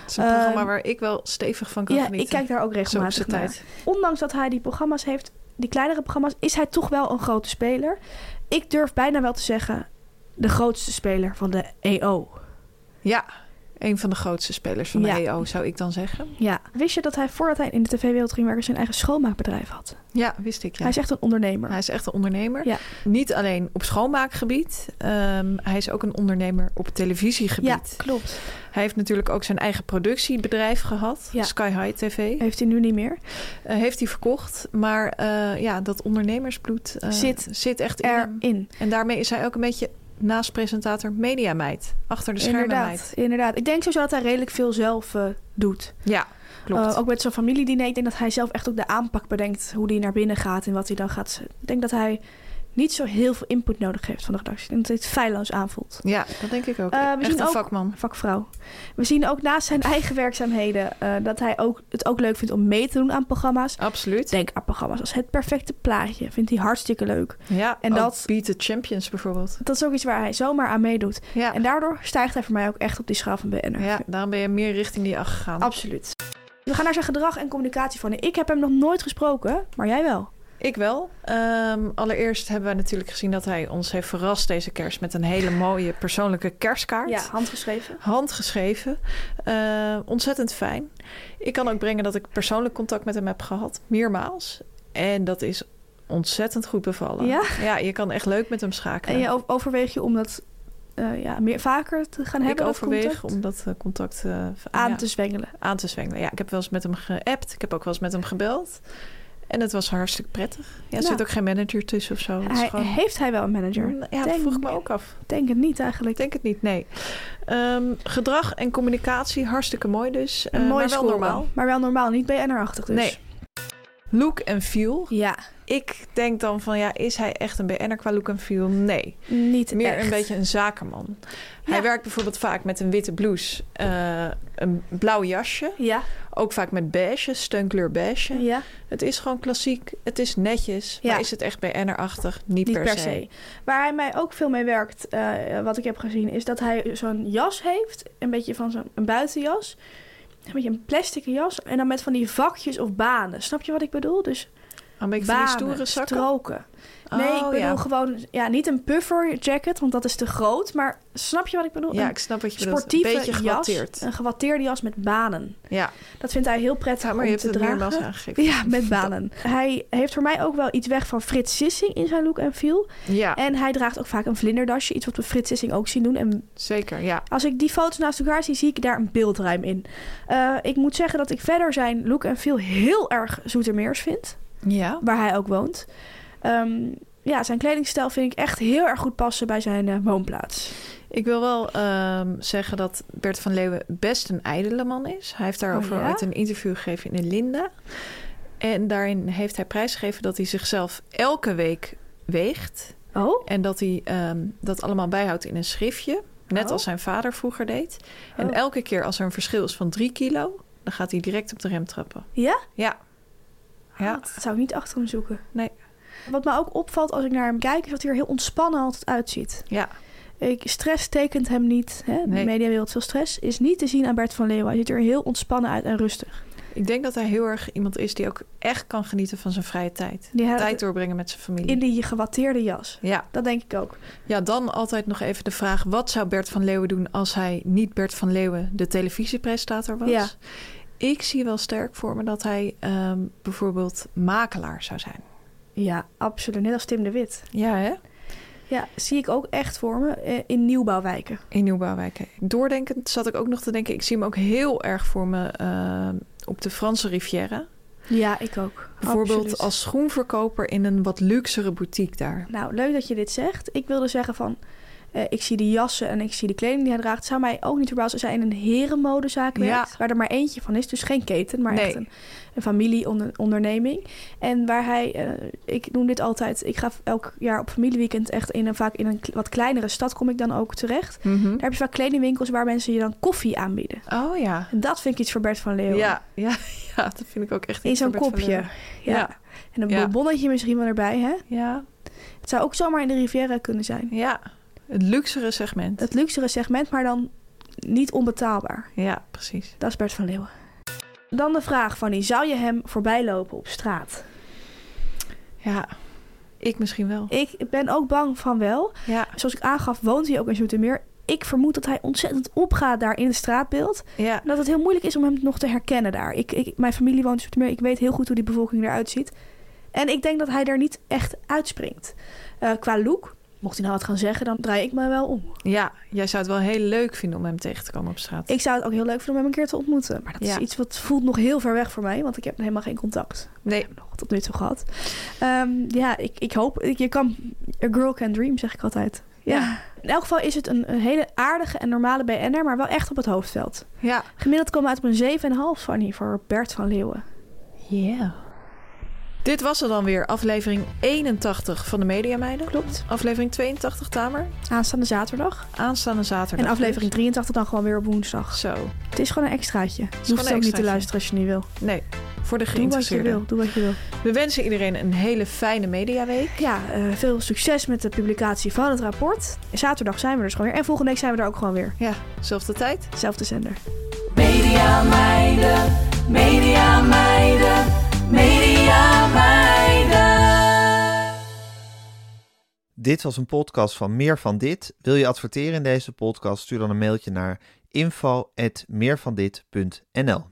[SPEAKER 1] Het is een
[SPEAKER 2] ehm,
[SPEAKER 1] programma waar ik wel stevig van kan
[SPEAKER 2] ja,
[SPEAKER 1] genieten.
[SPEAKER 2] ik kijk daar ook
[SPEAKER 1] Zo op
[SPEAKER 2] regelmatig
[SPEAKER 1] zijn
[SPEAKER 2] naar.
[SPEAKER 1] tijd.
[SPEAKER 2] Ondanks dat hij die programma's heeft, die kleinere programma's... is hij toch wel een grote speler. Ik durf bijna wel te zeggen... de grootste speler van de E EO.
[SPEAKER 1] Ja, een van de grootste spelers van de
[SPEAKER 2] Ja.
[SPEAKER 1] EO, zou ik dan zeggen.
[SPEAKER 2] Ja. Wist je dat hij voordat hij in de tv-wereld ging werken... zijn eigen schoonmaakbedrijf had?
[SPEAKER 1] Ja, wist ik. Ja.
[SPEAKER 2] Hij is echt een ondernemer.
[SPEAKER 1] Hij is echt een ondernemer.
[SPEAKER 2] Ja.
[SPEAKER 1] Niet alleen op schoonmaakgebied. ehm, hij is ook een ondernemer op
[SPEAKER 2] ja,
[SPEAKER 1] televisiegebied.
[SPEAKER 2] klopt.
[SPEAKER 1] Hij heeft natuurlijk ook zijn eigen productiebedrijf gehad.
[SPEAKER 2] Ja.
[SPEAKER 1] Sky High TV. Eh,
[SPEAKER 2] Heeft hij nu niet meer.
[SPEAKER 1] heeft hij verkocht. Maar eh, ja, dat ondernemersbloed eh,
[SPEAKER 2] Zit
[SPEAKER 1] echt in hem.
[SPEAKER 2] Erin.
[SPEAKER 1] En daarmee is hij ook een beetje naast presentator mediameid. Achter de schermen
[SPEAKER 2] Inderdaad,
[SPEAKER 1] meid.
[SPEAKER 2] inderdaad. Ik denk sowieso dat hij redelijk veel zelf eh, doet.
[SPEAKER 1] Ja, klopt.
[SPEAKER 2] Eh, ook met zo'n familiediner. Ik denk dat hij zelf echt ook de aanpak bedenkt. Hoe die naar binnen gaat en wat hij dan gaat. Ik denk dat hij niet zo heel veel input nodig heeft van de redactie. Ik denk dat hij het feilloos aanvoelt.
[SPEAKER 1] ja, dat denk ik ook.
[SPEAKER 2] Eh, we
[SPEAKER 1] echt
[SPEAKER 2] zien
[SPEAKER 1] een
[SPEAKER 2] ook-
[SPEAKER 1] vakman.
[SPEAKER 2] Vakvrouw. We zien ook naast zijn eigen werkzaamheden eh, dat hij ook, het ook leuk vindt om mee te doen aan programma's.
[SPEAKER 1] Absoluut.
[SPEAKER 2] Denk aan programma's als Het Perfecte Plaatje. Vindt hij hartstikke leuk.
[SPEAKER 1] Ja,
[SPEAKER 2] En
[SPEAKER 1] en dat...
[SPEAKER 2] dat-
[SPEAKER 1] Beat the Champions bijvoorbeeld.
[SPEAKER 2] Dat is ook iets waar hij zomaar aan meedoet.
[SPEAKER 1] Ja.
[SPEAKER 2] En daardoor stijgt hij voor mij ook echt op die schaal van BNR.
[SPEAKER 1] ja, daarom ben je meer richting die acht gegaan.
[SPEAKER 2] Absoluut. We gaan naar zijn gedrag en communicatie van. Ik heb hem nog nooit gesproken, maar jij wel.
[SPEAKER 1] Ik wel. Ehm, allereerst hebben we natuurlijk gezien dat hij ons heeft verrast deze kerst met een hele mooie persoonlijke kerstkaart.
[SPEAKER 2] handgeschreven.
[SPEAKER 1] Handgeschreven. Eh, ontzettend fijn. Ik kan ook brengen dat ik persoonlijk contact met hem heb gehad, meermaals. En dat is ontzettend goed bevallen.
[SPEAKER 2] Ja?
[SPEAKER 1] je kan echt leuk met hem schakelen.
[SPEAKER 2] En je o- overweeg je om dat eh, ja, meer vaker te gaan
[SPEAKER 1] ik
[SPEAKER 2] hebben? dat
[SPEAKER 1] overweeg
[SPEAKER 2] contact?
[SPEAKER 1] om dat eh, contact eh,
[SPEAKER 2] aan
[SPEAKER 1] ja,
[SPEAKER 2] te zwengelen.
[SPEAKER 1] aan te zwengelen. Ja, ik heb wel eens met hem geappt. Ik heb ook wel eens met hem gebeld. En het was hartstikke prettig. Ja, er
[SPEAKER 2] Ja.
[SPEAKER 1] zit ook geen manager tussen of zo. Het is
[SPEAKER 2] Nou. Hij,
[SPEAKER 1] gewoon- Mm,
[SPEAKER 2] Heeft hij wel een manager?
[SPEAKER 1] Ja, dat
[SPEAKER 2] Denk-
[SPEAKER 1] vroeg ik me ook af.
[SPEAKER 2] Denk het niet eigenlijk.
[SPEAKER 1] Ik denk het niet, nee. Ehm, gedrag en communicatie, hartstikke mooi dus. Eh,
[SPEAKER 2] een mooie
[SPEAKER 1] maar wel
[SPEAKER 2] score,
[SPEAKER 1] normaal.
[SPEAKER 2] Maar wel normaal, niet BNR-achtig dus.
[SPEAKER 1] Nee. Look en feel.
[SPEAKER 2] Ja,
[SPEAKER 1] Ik denk dan van, ja, is hij echt een BN'er qua look en feel? Nee.
[SPEAKER 2] niet
[SPEAKER 1] Meer
[SPEAKER 2] echt.
[SPEAKER 1] een beetje een zakenman. Hij
[SPEAKER 2] Ja.
[SPEAKER 1] werkt bijvoorbeeld vaak met een witte blouse, eh, een blauw jasje.
[SPEAKER 2] Ja,
[SPEAKER 1] Ook vaak met beige, steunkleur beige.
[SPEAKER 2] ja.
[SPEAKER 1] Het is gewoon klassiek, het is netjes.
[SPEAKER 2] Ja.
[SPEAKER 1] Maar is het echt BN'er-achtig? Niet,
[SPEAKER 2] niet per, se. Waar hij mij ook veel mee werkt, eh, wat ik heb gezien, is dat hij zo'n jas heeft. Een beetje van zo'n een buitenjas. Een beetje een plastic jas. En dan met van die vakjes of banen. Snap je wat ik bedoel? Dus
[SPEAKER 1] Een beetje Ah, van die
[SPEAKER 2] banen,
[SPEAKER 1] stoere zakken.
[SPEAKER 2] stroken. Nee, ik
[SPEAKER 1] Oh,
[SPEAKER 2] bedoel
[SPEAKER 1] ja.
[SPEAKER 2] gewoon... Ja, niet een puffer jacket, want dat is te groot. Maar snap je wat ik bedoel?
[SPEAKER 1] Ja,
[SPEAKER 2] Een
[SPEAKER 1] ik snap wat je bedoelt. Een
[SPEAKER 2] sportieve
[SPEAKER 1] beetje
[SPEAKER 2] jas.
[SPEAKER 1] gewatteerd.
[SPEAKER 2] Een gewatteerde jas met banen.
[SPEAKER 1] Ja.
[SPEAKER 2] Dat vindt hij heel prettig
[SPEAKER 1] Ja, maar
[SPEAKER 2] om
[SPEAKER 1] je hebt
[SPEAKER 2] te
[SPEAKER 1] het
[SPEAKER 2] dragen.
[SPEAKER 1] meermaals aangegeven.
[SPEAKER 2] Ja, met banen. Hij heeft voor mij ook wel iets weg van Frits Sissing in zijn look en feel.
[SPEAKER 1] Ja,
[SPEAKER 2] En hij draagt ook vaak een vlinderdasje. Iets wat we Frits Sissing ook zien doen. En
[SPEAKER 1] zeker. Ja.
[SPEAKER 2] als ik die foto's naast elkaar zie, zie ik daar een beeldruim in. Eh, ik moet zeggen dat ik verder zijn look en feel heel erg Zoetermeers vind.
[SPEAKER 1] Ja.
[SPEAKER 2] Waar hij ook woont. Ehm, ja, zijn kledingstijl vind ik echt heel erg goed passen bij zijn eh, woonplaats.
[SPEAKER 1] Ik wil wel ehm, zeggen dat Bert van Leeuwen best een ijdele man is. Hij heeft daarover
[SPEAKER 2] Oh ja?
[SPEAKER 1] ooit een interview gegeven in de Linda. En daarin heeft hij prijsgegeven dat hij zichzelf elke week weegt.
[SPEAKER 2] Oh?
[SPEAKER 1] En dat hij ehm, dat allemaal bijhoudt in een schriftje. Net
[SPEAKER 2] Oh.
[SPEAKER 1] als zijn vader vroeger deed. En elke keer als er een verschil is van 3 kilo, dan gaat hij direct op de rem trappen.
[SPEAKER 2] Ja?
[SPEAKER 1] Ja. Ja.
[SPEAKER 2] Dat zou ik niet achter hem zoeken.
[SPEAKER 1] Nee.
[SPEAKER 2] Wat me ook opvalt als ik naar hem kijk, is dat hij er heel ontspannen altijd uitziet.
[SPEAKER 1] Ja.
[SPEAKER 2] Ik, stress tekent hem niet. Hè? De
[SPEAKER 1] Nee.
[SPEAKER 2] mediawereld veel stress. Is niet te zien aan Bert van Leeuwen. Hij ziet er heel ontspannen uit en rustig.
[SPEAKER 1] Ik denk dat hij heel erg iemand is die ook echt kan genieten van zijn vrije tijd.
[SPEAKER 2] Die had-
[SPEAKER 1] tijd doorbrengen met zijn familie.
[SPEAKER 2] In die gewatteerde jas.
[SPEAKER 1] Ja.
[SPEAKER 2] Dat denk ik ook.
[SPEAKER 1] ja, dan altijd nog even de vraag: wat zou Bert van Leeuwen doen als hij niet Bert van Leeuwen, de televisiepresentator, was?
[SPEAKER 2] Ja.
[SPEAKER 1] Ik zie wel sterk voor me dat hij ehm, bijvoorbeeld makelaar zou zijn.
[SPEAKER 2] Ja, absoluut. Net als Tim de Wit.
[SPEAKER 1] Ja, hè?
[SPEAKER 2] Ja, zie ik ook echt voor me eh, in nieuwbouwwijken.
[SPEAKER 1] In Nieuwbouwwijk. Doordenkend zat ik ook nog te denken: ik zie hem ook heel erg voor me ehm, op de Franse Riviera.
[SPEAKER 2] Ja, ik ook.
[SPEAKER 1] Bijvoorbeeld
[SPEAKER 2] Absoluut.
[SPEAKER 1] als schoenverkoper in een wat luxere boutique daar.
[SPEAKER 2] Nou, leuk dat je dit zegt. Ik wilde zeggen van... eh, ik zie die jassen en ik zie de kleding die hij draagt. Zou mij ook niet verbazen als hij in een herenmodezaak
[SPEAKER 1] Ja.
[SPEAKER 2] werkt. Waar er maar eentje van is. Dus geen keten, maar echt
[SPEAKER 1] Nee.
[SPEAKER 2] een, een familieonderneming. En waar hij... eh, ik noem dit altijd... Ik ga elk jaar op familieweekend echt in een, vaak in een kle- wat kleinere stad kom ik dan ook terecht.
[SPEAKER 1] Mhm.
[SPEAKER 2] Daar heb je vaak kledingwinkels waar mensen je dan koffie aanbieden.
[SPEAKER 1] Oh ja.
[SPEAKER 2] En dat vind ik iets voor Bert van Leeuwen.
[SPEAKER 1] Ja, ja, ja, dat vind ik ook echt
[SPEAKER 2] In
[SPEAKER 1] iets
[SPEAKER 2] zo'n
[SPEAKER 1] voor Bert van
[SPEAKER 2] kopje.
[SPEAKER 1] Leeuwen.
[SPEAKER 2] Ja.
[SPEAKER 1] Ja.
[SPEAKER 2] En een
[SPEAKER 1] Ja.
[SPEAKER 2] bonbonnetje misschien wel erbij, hè?
[SPEAKER 1] Ja,
[SPEAKER 2] Het zou ook zomaar in de Riviera kunnen zijn.
[SPEAKER 1] ja. Het luxere segment.
[SPEAKER 2] Het luxere segment, maar dan niet onbetaalbaar.
[SPEAKER 1] Ja, precies.
[SPEAKER 2] Dat is Bert van Leeuwen. Dan de vraag, Fanny. Zou je hem voorbij lopen op straat?
[SPEAKER 1] Ja, ik misschien wel.
[SPEAKER 2] Ik ben ook bang van wel.
[SPEAKER 1] Ja,
[SPEAKER 2] Zoals ik aangaf, woont hij ook in Zoetermeer. Ik vermoed dat hij ontzettend opgaat daar in het straatbeeld.
[SPEAKER 1] ja,
[SPEAKER 2] En dat het heel moeilijk is om hem nog te herkennen daar. Ik, ik, mijn familie woont in Zoetermeer. Ik weet heel goed hoe die bevolking eruit ziet. En ik denk dat hij daar niet echt uitspringt. Eh, qua look, mocht hij nou wat gaan zeggen, dan draai ik me wel om.
[SPEAKER 1] ja. Jij zou het wel heel leuk vinden om hem tegen te komen op straat.
[SPEAKER 2] Ik zou het ook heel leuk vinden om hem een keer te ontmoeten. Maar dat is
[SPEAKER 1] Ja.
[SPEAKER 2] iets wat voelt nog heel ver weg voor mij. Want ik heb helemaal geen contact
[SPEAKER 1] Nee,
[SPEAKER 2] nog tot nu toe gehad. Ehm, ja, ik, ik hoop... ik- je kan... A girl can dream, zeg ik altijd. Ja. In elk geval is het een, een hele aardige en normale BN'er. Maar wel echt op het hoofdveld.
[SPEAKER 1] ja.
[SPEAKER 2] Gemiddeld komen we uit op een 7,5 Fanny voor Bert van Leeuwen.
[SPEAKER 1] Yeah. Dit was het dan weer, aflevering 81 van de Media Meiden.
[SPEAKER 2] Klopt.
[SPEAKER 1] Aflevering 82, Tamer.
[SPEAKER 2] Aanstaande zaterdag.
[SPEAKER 1] Aanstaande zaterdag.
[SPEAKER 2] En aflevering 83 dan gewoon weer op woensdag.
[SPEAKER 1] Zo.
[SPEAKER 2] Het is gewoon een extraatje. Je hoeft
[SPEAKER 1] gewoon een
[SPEAKER 2] het ook niet te
[SPEAKER 1] extraatje.
[SPEAKER 2] luisteren als je niet wil.
[SPEAKER 1] Nee, voor de
[SPEAKER 2] Doe wat je
[SPEAKER 1] geïnteresseerden.
[SPEAKER 2] wil. Doe wat je wil.
[SPEAKER 1] We wensen iedereen een hele fijne mediaweek.
[SPEAKER 2] Ja, eh, veel succes met de publicatie van het rapport. Zaterdag zijn we er dus gewoon weer. En volgende week zijn we er ook gewoon weer.
[SPEAKER 1] Ja, zelfde tijd.
[SPEAKER 2] Zelfde zender.
[SPEAKER 3] Media meiden, media meiden, media meiden.
[SPEAKER 4] Dit was een podcast van Meer van Dit. Wil je adverteren in deze podcast? Stuur dan een mailtje naar info.meervandit.nl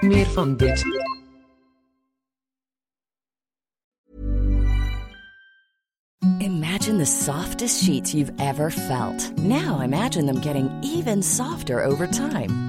[SPEAKER 5] Meer van dit.
[SPEAKER 6] Imagine the softest sheets you've ever felt. Now imagine them getting even softer over time.